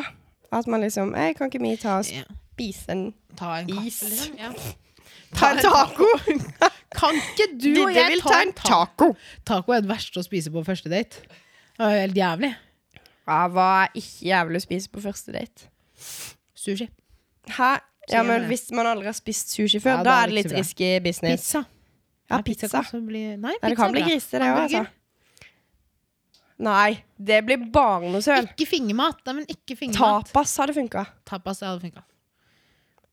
Speaker 1: At man liksom Ei, kan ikke vi ta og
Speaker 2: ja,
Speaker 1: spise en
Speaker 2: Ta en kaffe,
Speaker 1: Is.
Speaker 2: liksom. Ja.
Speaker 1: Ta en taco!
Speaker 2: Kan ikke du og
Speaker 1: Didde
Speaker 2: jeg
Speaker 1: vil
Speaker 2: ta en taco?
Speaker 1: taco.
Speaker 2: Taco er det verste å spise på første date. Det er jo helt jævlig.
Speaker 1: Ja, hva er ikke jævlig å spise på første date?
Speaker 2: Sushi.
Speaker 1: Hæ? Ja,
Speaker 2: Sier
Speaker 1: men
Speaker 2: det.
Speaker 1: Hvis man aldri har spist sushi før,
Speaker 2: Ja,
Speaker 1: da er det litt
Speaker 2: ikke så
Speaker 1: risky business.
Speaker 2: Pizza.
Speaker 1: Ja,
Speaker 2: Nei,
Speaker 1: pizza.
Speaker 2: kan også bli Nei,
Speaker 1: Nei, det
Speaker 2: pizza er
Speaker 1: kan bli
Speaker 2: bra.
Speaker 1: grise, det òg, altså.
Speaker 2: Hamburger.
Speaker 1: Nei, det blir bare noe søl.
Speaker 2: Ikke fingermat. Nei, men ikke fingermat.
Speaker 1: Tapas hadde funka.
Speaker 2: Tapas det hadde funka.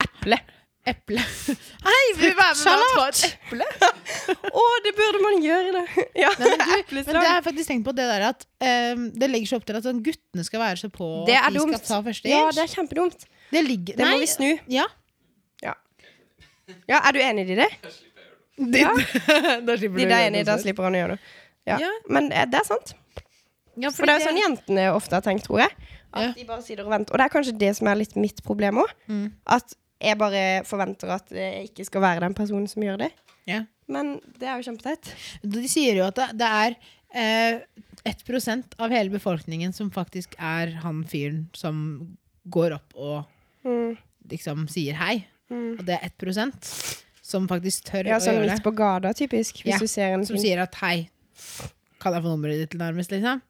Speaker 1: Eple.
Speaker 2: Eple. Hei, vil du være med og ta et eple?
Speaker 1: Å, det burde man gjøre, det. Ja,
Speaker 2: Nei, men, du, men det
Speaker 1: Epleslag.
Speaker 2: har jeg faktisk tenkt på det der at ehm, det legger seg opp til at sånn, guttene skal være så på
Speaker 1: Det
Speaker 2: at
Speaker 1: er
Speaker 2: de
Speaker 1: dumt.
Speaker 2: skal ta første
Speaker 1: Ja,
Speaker 2: inch.
Speaker 1: det er kjempedumt.
Speaker 2: det ligger
Speaker 1: Det må
Speaker 2: Nei,
Speaker 1: vi snu.
Speaker 2: Ja.
Speaker 1: Ja, Er du enig i det?
Speaker 2: Ja. da slipper du å
Speaker 1: De der er
Speaker 2: gjøre
Speaker 1: enig,
Speaker 2: noe
Speaker 1: da
Speaker 2: sånt.
Speaker 1: slipper han å gjøre noe. Ja.
Speaker 2: Ja.
Speaker 1: Men eh, det er sant.
Speaker 2: Ja,
Speaker 1: For det er jo sånn jentene ofte har tenkt, tror jeg. At
Speaker 2: Ja.
Speaker 1: de bare sitter og venter. Og det er kanskje det som er litt mitt problem òg.
Speaker 2: Mm.
Speaker 1: At jeg bare forventer at jeg ikke skal være den personen som gjør det.
Speaker 2: Ja.
Speaker 1: Men det er jo kjempeteit.
Speaker 2: De sier jo at det, det er eh, 1 av hele befolkningen som faktisk er han fyren som går opp og
Speaker 1: Mm.
Speaker 2: liksom sier hei.
Speaker 1: Mm.
Speaker 2: Og det er 1 som faktisk tør
Speaker 1: Ja,
Speaker 2: å
Speaker 1: sånn
Speaker 2: gjøre
Speaker 1: midt
Speaker 2: det.
Speaker 1: på gata, typisk. Hvis
Speaker 2: Ja,
Speaker 1: du ser en sånn-
Speaker 2: Som sier at hei, kan jeg få nummeret ditt, nærmest, liksom?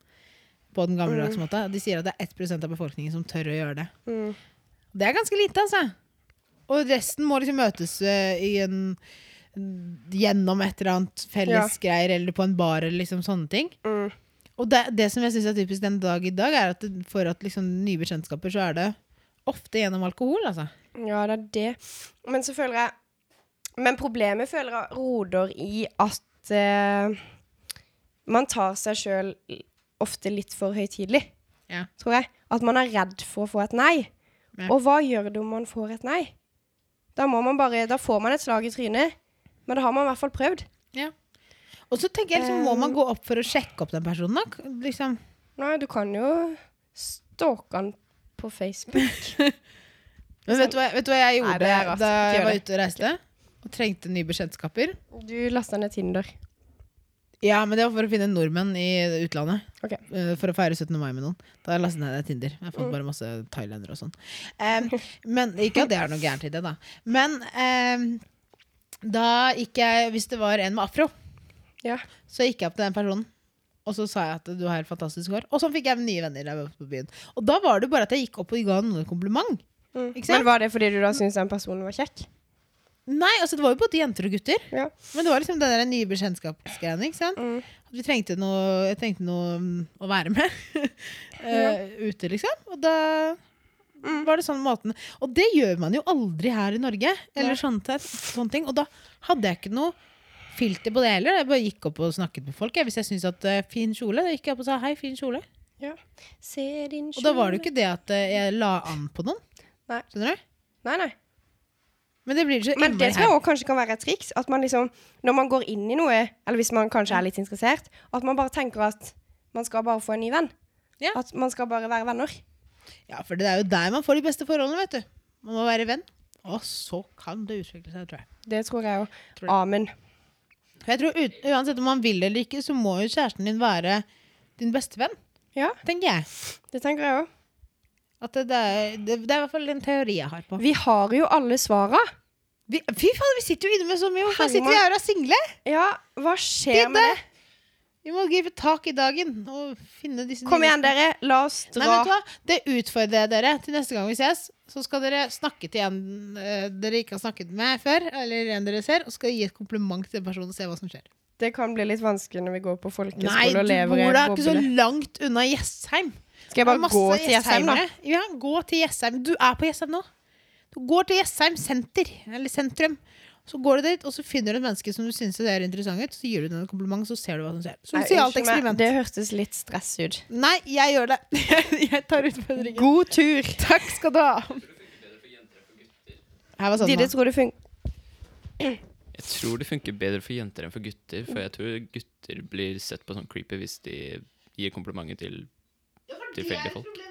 Speaker 2: På den gammeldags måten. De sier at det er 1 av befolkningen som tør å gjøre det.
Speaker 1: mm.
Speaker 2: Det er ganske lite, altså. Og resten må liksom møtes eh, i en Gjennom et eller annet felles greier, eller på en bar, eller liksom sånne ting.
Speaker 1: Mm.
Speaker 2: Og det, det som jeg synes er typisk den dag i dag, er at det, for at liksom nye bekjentskaper, så er det ofte gjennom alkohol, altså.
Speaker 1: Ja, det er det. Men så føler jeg Men problemet føler jeg roder i at eh, man tar seg sjøl ofte litt for høytidelig,
Speaker 2: Ja.
Speaker 1: tror jeg. At man er redd for å få et nei.
Speaker 2: Ja.
Speaker 1: Og hva gjør det om man får et nei? Da, må man bare, da får man et slag i trynet, men da har man i hvert fall prøvd.
Speaker 2: Og så tenker jeg liksom, må man gå opp for å sjekke opp den personen, da? Liksom.
Speaker 1: Nei, du kan jo stalke han på Facebook.
Speaker 2: Men vet du, hva, vet du hva jeg
Speaker 1: Nei,
Speaker 2: gjorde
Speaker 1: det er rart.
Speaker 2: da
Speaker 1: Ikke
Speaker 2: jeg
Speaker 1: gjør
Speaker 2: var
Speaker 1: det.
Speaker 2: ute og reiste? Og trengte nye bekjentskaper?
Speaker 1: Du lasta ned Tinder.
Speaker 2: Ja, men det var for å finne nordmenn i utlandet.
Speaker 1: Ok.
Speaker 2: Eh, For å feire 17. mai med noen. Da lastet jeg ned Tinder. Jeg fant bare masse thailendere og sånn. Em, men ikke at det er noe gærent i det, da. Men em, da gikk jeg Hvis det var en med afro,
Speaker 1: Ja.
Speaker 2: så gikk jeg opp til den personen. Og så sa jeg at du har helt fantastisk hår. Og sånn fikk jeg nye venner. da jeg var på byen. Og da var det bare at jeg gikk opp og ga noen en kompliment.
Speaker 1: Mm.
Speaker 2: Ikke sant?
Speaker 1: Men var det fordi du da syntes den personen var kjekk?
Speaker 2: Nei, altså Det var jo både jenter og gutter.
Speaker 1: Ja.
Speaker 2: Men det var liksom den der nye bekjentskapsgreiene. ikke sant?
Speaker 1: Mm.
Speaker 2: At vi trengte noe, jeg trengte noe mm, å være med eh, ute, liksom. Og da
Speaker 1: Mm.
Speaker 2: var det sånn måten. Og det gjør man jo aldri her i Norge. Eller sånn te- sånne ting. Og da hadde jeg ikke noe filter på det heller. Jeg bare gikk opp og snakket med folk. Jeg, hvis jeg syntes at eh, fin kjole, da gikk jeg opp og sa hei, fin kjole.
Speaker 1: Se din
Speaker 2: Og da var det jo ikke det at eh, jeg la an på noen.
Speaker 1: Nei.
Speaker 2: Skjønner du?
Speaker 1: Nei, nei.
Speaker 2: Men det blir så
Speaker 1: Men det
Speaker 2: innmari
Speaker 1: tror jeg
Speaker 2: her.
Speaker 1: også kanskje kan være et triks. At man liksom, når man går inn i noe, eller hvis man kanskje er litt interessert, at man bare tenker at man skal bare få en ny venn.
Speaker 2: Ja.
Speaker 1: At man skal bare være venner.
Speaker 2: Ja, for det er jo der man får de beste forholdene, vet du. Man må være venn. Og så kan det utvikle seg, tror jeg.
Speaker 1: Det tror jeg jo.
Speaker 2: Tror jeg.
Speaker 1: Amen.
Speaker 2: For jeg tror ut, Uansett om man vil eller ikke, så må jo kjæresten din være din beste venn.
Speaker 1: Ja.
Speaker 2: Tenker jeg.
Speaker 1: Det tenker jeg òg.
Speaker 2: At det, det, er, det, det er i hvert fall en teori jeg har på.
Speaker 1: Vi har jo alle svara.
Speaker 2: Vi, fy faen, vi sitter jo inne med så mye! Hvorfor
Speaker 1: Herregud.
Speaker 2: sitter vi her og er single?
Speaker 1: Ja, hva skjer med det?
Speaker 2: Vi må gripe tak i dagen og finne disse
Speaker 1: Kom
Speaker 2: nye-
Speaker 1: igjen, dere. La oss
Speaker 2: Nei, vet du
Speaker 1: dra.
Speaker 2: hva? Det utfordrer jeg dere. Til neste gang vi ses, så skal dere snakke til en eh, dere ikke har snakket med før, eller en dere ser, og skal gi et kompliment til den personen og se hva som skjer.
Speaker 1: Det kan bli litt vanskelig når vi går
Speaker 2: Nei,
Speaker 1: på folkeskole
Speaker 2: du
Speaker 1: og
Speaker 2: bor
Speaker 1: lever i
Speaker 2: da
Speaker 1: en
Speaker 2: ikke så
Speaker 1: boble.
Speaker 2: langt unna Jessheim.
Speaker 1: Skal jeg
Speaker 2: Det er
Speaker 1: bare
Speaker 2: masse
Speaker 1: gå til Jessheim, da?
Speaker 2: jessheimere. Ja, gå til Jessheim. Du er på Jessheim nå. Du går til Jessheim senter, eller sentrum. Så går du dit, og så finner du et menneske som du syns ser interessant ut, så gir du den et kompliment, så ser du hva som skjer.
Speaker 1: Nei,
Speaker 2: Sosialt
Speaker 1: unnskyld meg,
Speaker 2: eksperiment.
Speaker 1: Det hørtes litt stress ut.
Speaker 2: Nei, jeg gjør det. jeg tar utfordringen.
Speaker 1: God tur!
Speaker 2: Takk skal du ha. Her var sånn,
Speaker 1: Didi tror det funker.
Speaker 3: Jeg tror det funker bedre for jenter enn for gutter, for jeg tror gutter blir sett på som creepy hvis de gir komplimenter til tilfeldige folk.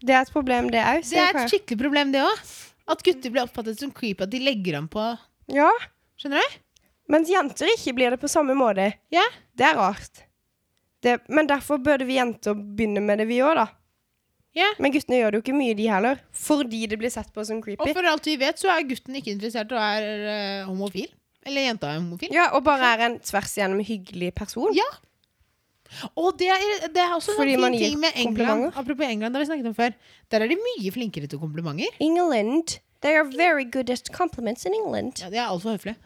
Speaker 1: Det er et problem, det òg.
Speaker 2: Det er et skikkelig problem, det òg. At gutter blir oppfattet som creepy, at de legger an på
Speaker 1: Ja,
Speaker 2: Skjønner du?
Speaker 1: mens jenter ikke blir det på samme måte.
Speaker 2: Ja.
Speaker 1: Det er rart. Det, men derfor burde vi jenter begynne med det, vi òg, da.
Speaker 2: Ja.
Speaker 1: Men guttene gjør det jo ikke mye, de heller. Fordi det blir sett på som
Speaker 2: Og
Speaker 1: creepy.
Speaker 2: for alt vi vet, så er gutten ikke interessert og er eh, homofil. Eller jenta er homofil.
Speaker 1: Ja, Og bare er en tvers igjennom hyggelig person.
Speaker 2: Ja. Og det er, det er også
Speaker 1: Fordi
Speaker 2: en
Speaker 1: man
Speaker 2: fin
Speaker 1: gir
Speaker 2: ting med England.
Speaker 1: komplimenter.
Speaker 2: Apropos England, det har vi snakket om før. Der er de mye flinkere til komplimenter.
Speaker 1: England. They are very good at compliments in England.
Speaker 2: Ja, De er altfor høflige.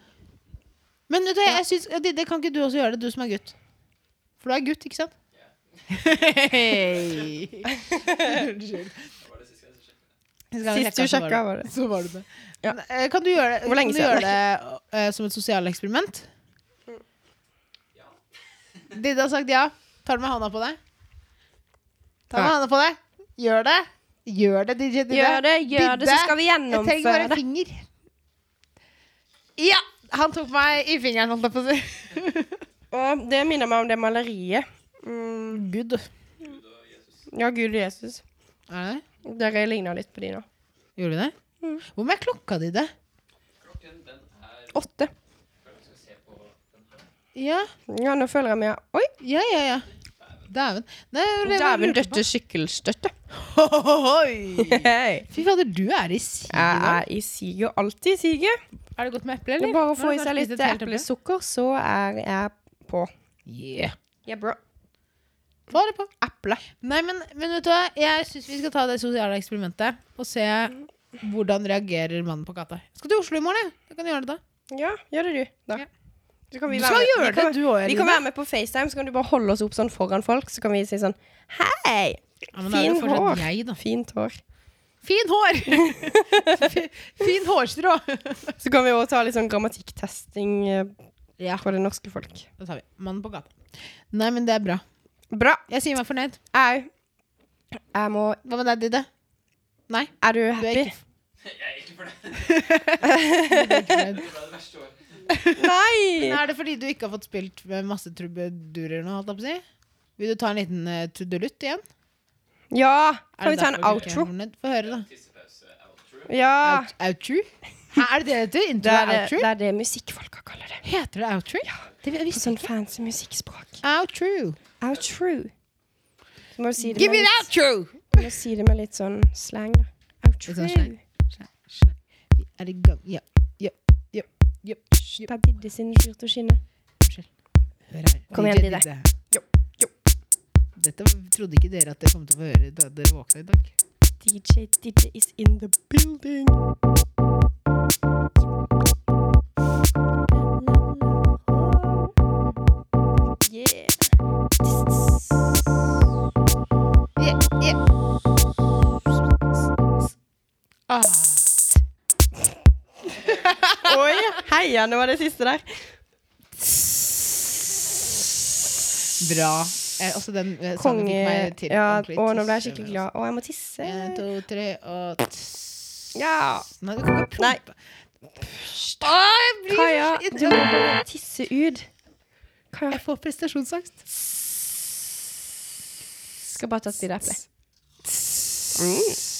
Speaker 2: Men vet du, hva, jeg synes, ja, det, det kan ikke du også gjøre det, du som er gutt. For du er gutt, ikke sant? Hei. Unnskyld.
Speaker 1: Sist du sjekka, var det.
Speaker 2: så var det det.
Speaker 1: Ja.
Speaker 2: Men, eh, Kan du gjøre det,
Speaker 1: Hvor
Speaker 2: kan
Speaker 1: lenge
Speaker 2: du
Speaker 1: siden?
Speaker 2: gjøre det eh, som et sosialeksperiment? Didde har sagt ja. Tar du med handa på deg? Ta med
Speaker 1: Ja.
Speaker 2: handa på deg. Gjør det. Gjør det, DJ Didde.
Speaker 1: Gjør det, gjør det, så skal vi
Speaker 2: Jeg trenger
Speaker 1: gjennomføre
Speaker 2: bare
Speaker 1: det.
Speaker 2: finger. Ja! Han tok meg i fingeren, holdt jeg på å si.
Speaker 1: Og det minner meg om det maleriet. Mm,
Speaker 2: Gud.
Speaker 1: ja, Gud og Jesus.
Speaker 2: Er det?
Speaker 1: Dere ligner litt på de nå.
Speaker 2: Gjorde vi det?
Speaker 1: Mm.
Speaker 2: Hvor mye er klokka di, det?
Speaker 1: Åtte.
Speaker 2: Ja,
Speaker 1: Ja, nå føler jeg meg Oi!
Speaker 2: ja, ja. ja. Dæven. Nei, det var det jeg
Speaker 1: Dæven
Speaker 2: lurte på.
Speaker 1: døtte sykkelstøtte.
Speaker 2: Hohohoi.
Speaker 1: Hei.
Speaker 2: Fy fader, du er i siget.
Speaker 1: Jeg er i siget, alltid i siget.
Speaker 2: Er det godt med eple,
Speaker 1: Det
Speaker 2: eller?
Speaker 1: er bare å få
Speaker 2: Har
Speaker 1: i
Speaker 2: du
Speaker 1: seg
Speaker 2: spist
Speaker 1: litt
Speaker 2: et helt eple?
Speaker 1: eplesukker, så er jeg på.
Speaker 2: Yeah.
Speaker 1: Yeah, bro.
Speaker 2: Få det på.
Speaker 1: Eple.
Speaker 2: Nei, men, men vet du hva? Jeg syns vi skal ta det sosiale eksperimentet og se hvordan reagerer mannen på gata. Jeg skal til Oslo i morgen, jeg. Jeg kan gjøre det da.
Speaker 1: Ja, gjør det du. Da.
Speaker 2: Ja.
Speaker 1: Så kan vi
Speaker 2: Du
Speaker 1: være
Speaker 2: skal
Speaker 1: med-
Speaker 2: gjøre
Speaker 1: vi kan-
Speaker 2: det, du også,
Speaker 1: Vi kan
Speaker 2: Elina.
Speaker 1: være med på FaceTime, så kan du bare holde oss opp sånn foran folk. Så kan vi si sånn Hei!
Speaker 2: Ja, men da er det
Speaker 1: Fin
Speaker 2: fortsatt
Speaker 1: hår.
Speaker 2: Jeg, da.
Speaker 1: Fint hår.
Speaker 2: Fin hår! Fi- fin hårstrå.
Speaker 1: Så kan vi òg ta litt sånn grammatikktesting eh,
Speaker 2: Ja.
Speaker 1: på det norske folk.
Speaker 2: Da tar vi mannen på gata. Nei, men det er bra.
Speaker 1: Bra.
Speaker 2: Jeg sier meg fornøyd.
Speaker 1: Au. Jeg må
Speaker 2: Hva med deg, Didde? Nei,
Speaker 1: Er du
Speaker 2: du er
Speaker 1: happy?
Speaker 2: ikke
Speaker 3: Jeg er ikke fornøyd.
Speaker 2: fornøyd.
Speaker 3: Det ble det verste året.
Speaker 1: Nei!
Speaker 2: Men er det fordi du ikke har fått spilt med masse trubadurer nå, holdt jeg på å si? Vil du ta en liten uh, trudelutt igjen?
Speaker 1: Ja!
Speaker 2: Er
Speaker 1: Kan vi
Speaker 2: det
Speaker 1: ta
Speaker 2: derfor du ikke
Speaker 1: en
Speaker 2: er
Speaker 1: outro?
Speaker 2: fornøyd? Få høre, da.
Speaker 1: Ja.
Speaker 2: Out- Outro? Hæ, er det det det heter?
Speaker 1: Det
Speaker 2: Intro
Speaker 1: er
Speaker 2: er
Speaker 1: det,
Speaker 2: outro?
Speaker 1: det, er det musikkfolka kaller det.
Speaker 2: Heter det outro? Det vil jeg
Speaker 1: På
Speaker 2: visst
Speaker 1: sånn
Speaker 2: ikke.
Speaker 1: fancy musikkspråk.
Speaker 2: Outro.
Speaker 1: Outro. Så må du si det,
Speaker 2: Give me
Speaker 1: med
Speaker 2: an
Speaker 1: litt,
Speaker 2: outro!
Speaker 1: må si det med litt sånn slang, da.
Speaker 2: Litt
Speaker 1: Outro.
Speaker 2: sånn slang. Vi er i gang. Ja, ja, ja, ja. ja.
Speaker 1: Det er Didde sin tur til å skinne.
Speaker 2: Hør her.
Speaker 1: Kom igjen,
Speaker 2: DJ
Speaker 1: Didde.
Speaker 2: Didde.
Speaker 1: Jo, jo.
Speaker 2: Dette trodde ikke dere at dere kom til å få høre da dere våkna i dag.
Speaker 1: DJ Didde is in the building. Yeah.
Speaker 2: Yeah, yeah. Ah.
Speaker 1: Oi, heia, nå var det siste der.
Speaker 2: Bra. Eh, også den eh, sangen fikk
Speaker 1: Konge.
Speaker 2: meg til
Speaker 1: Ja,
Speaker 2: ordentlig
Speaker 1: å, nå ble jeg
Speaker 2: tisse.
Speaker 1: skikkelig glad. Å, jeg må tisse.
Speaker 2: En, to, tre og tss.
Speaker 1: Ja.
Speaker 2: Nei, du kan ikke
Speaker 1: Nei.
Speaker 2: prompe. Åh, Ah, jeg blir
Speaker 1: Kaja,
Speaker 2: så
Speaker 1: du må
Speaker 2: irritert.
Speaker 1: bare tisse ut. Kaja,
Speaker 2: Jeg får prestasjonsangst.
Speaker 1: skal bare ta et bilde av eple.
Speaker 2: Tss.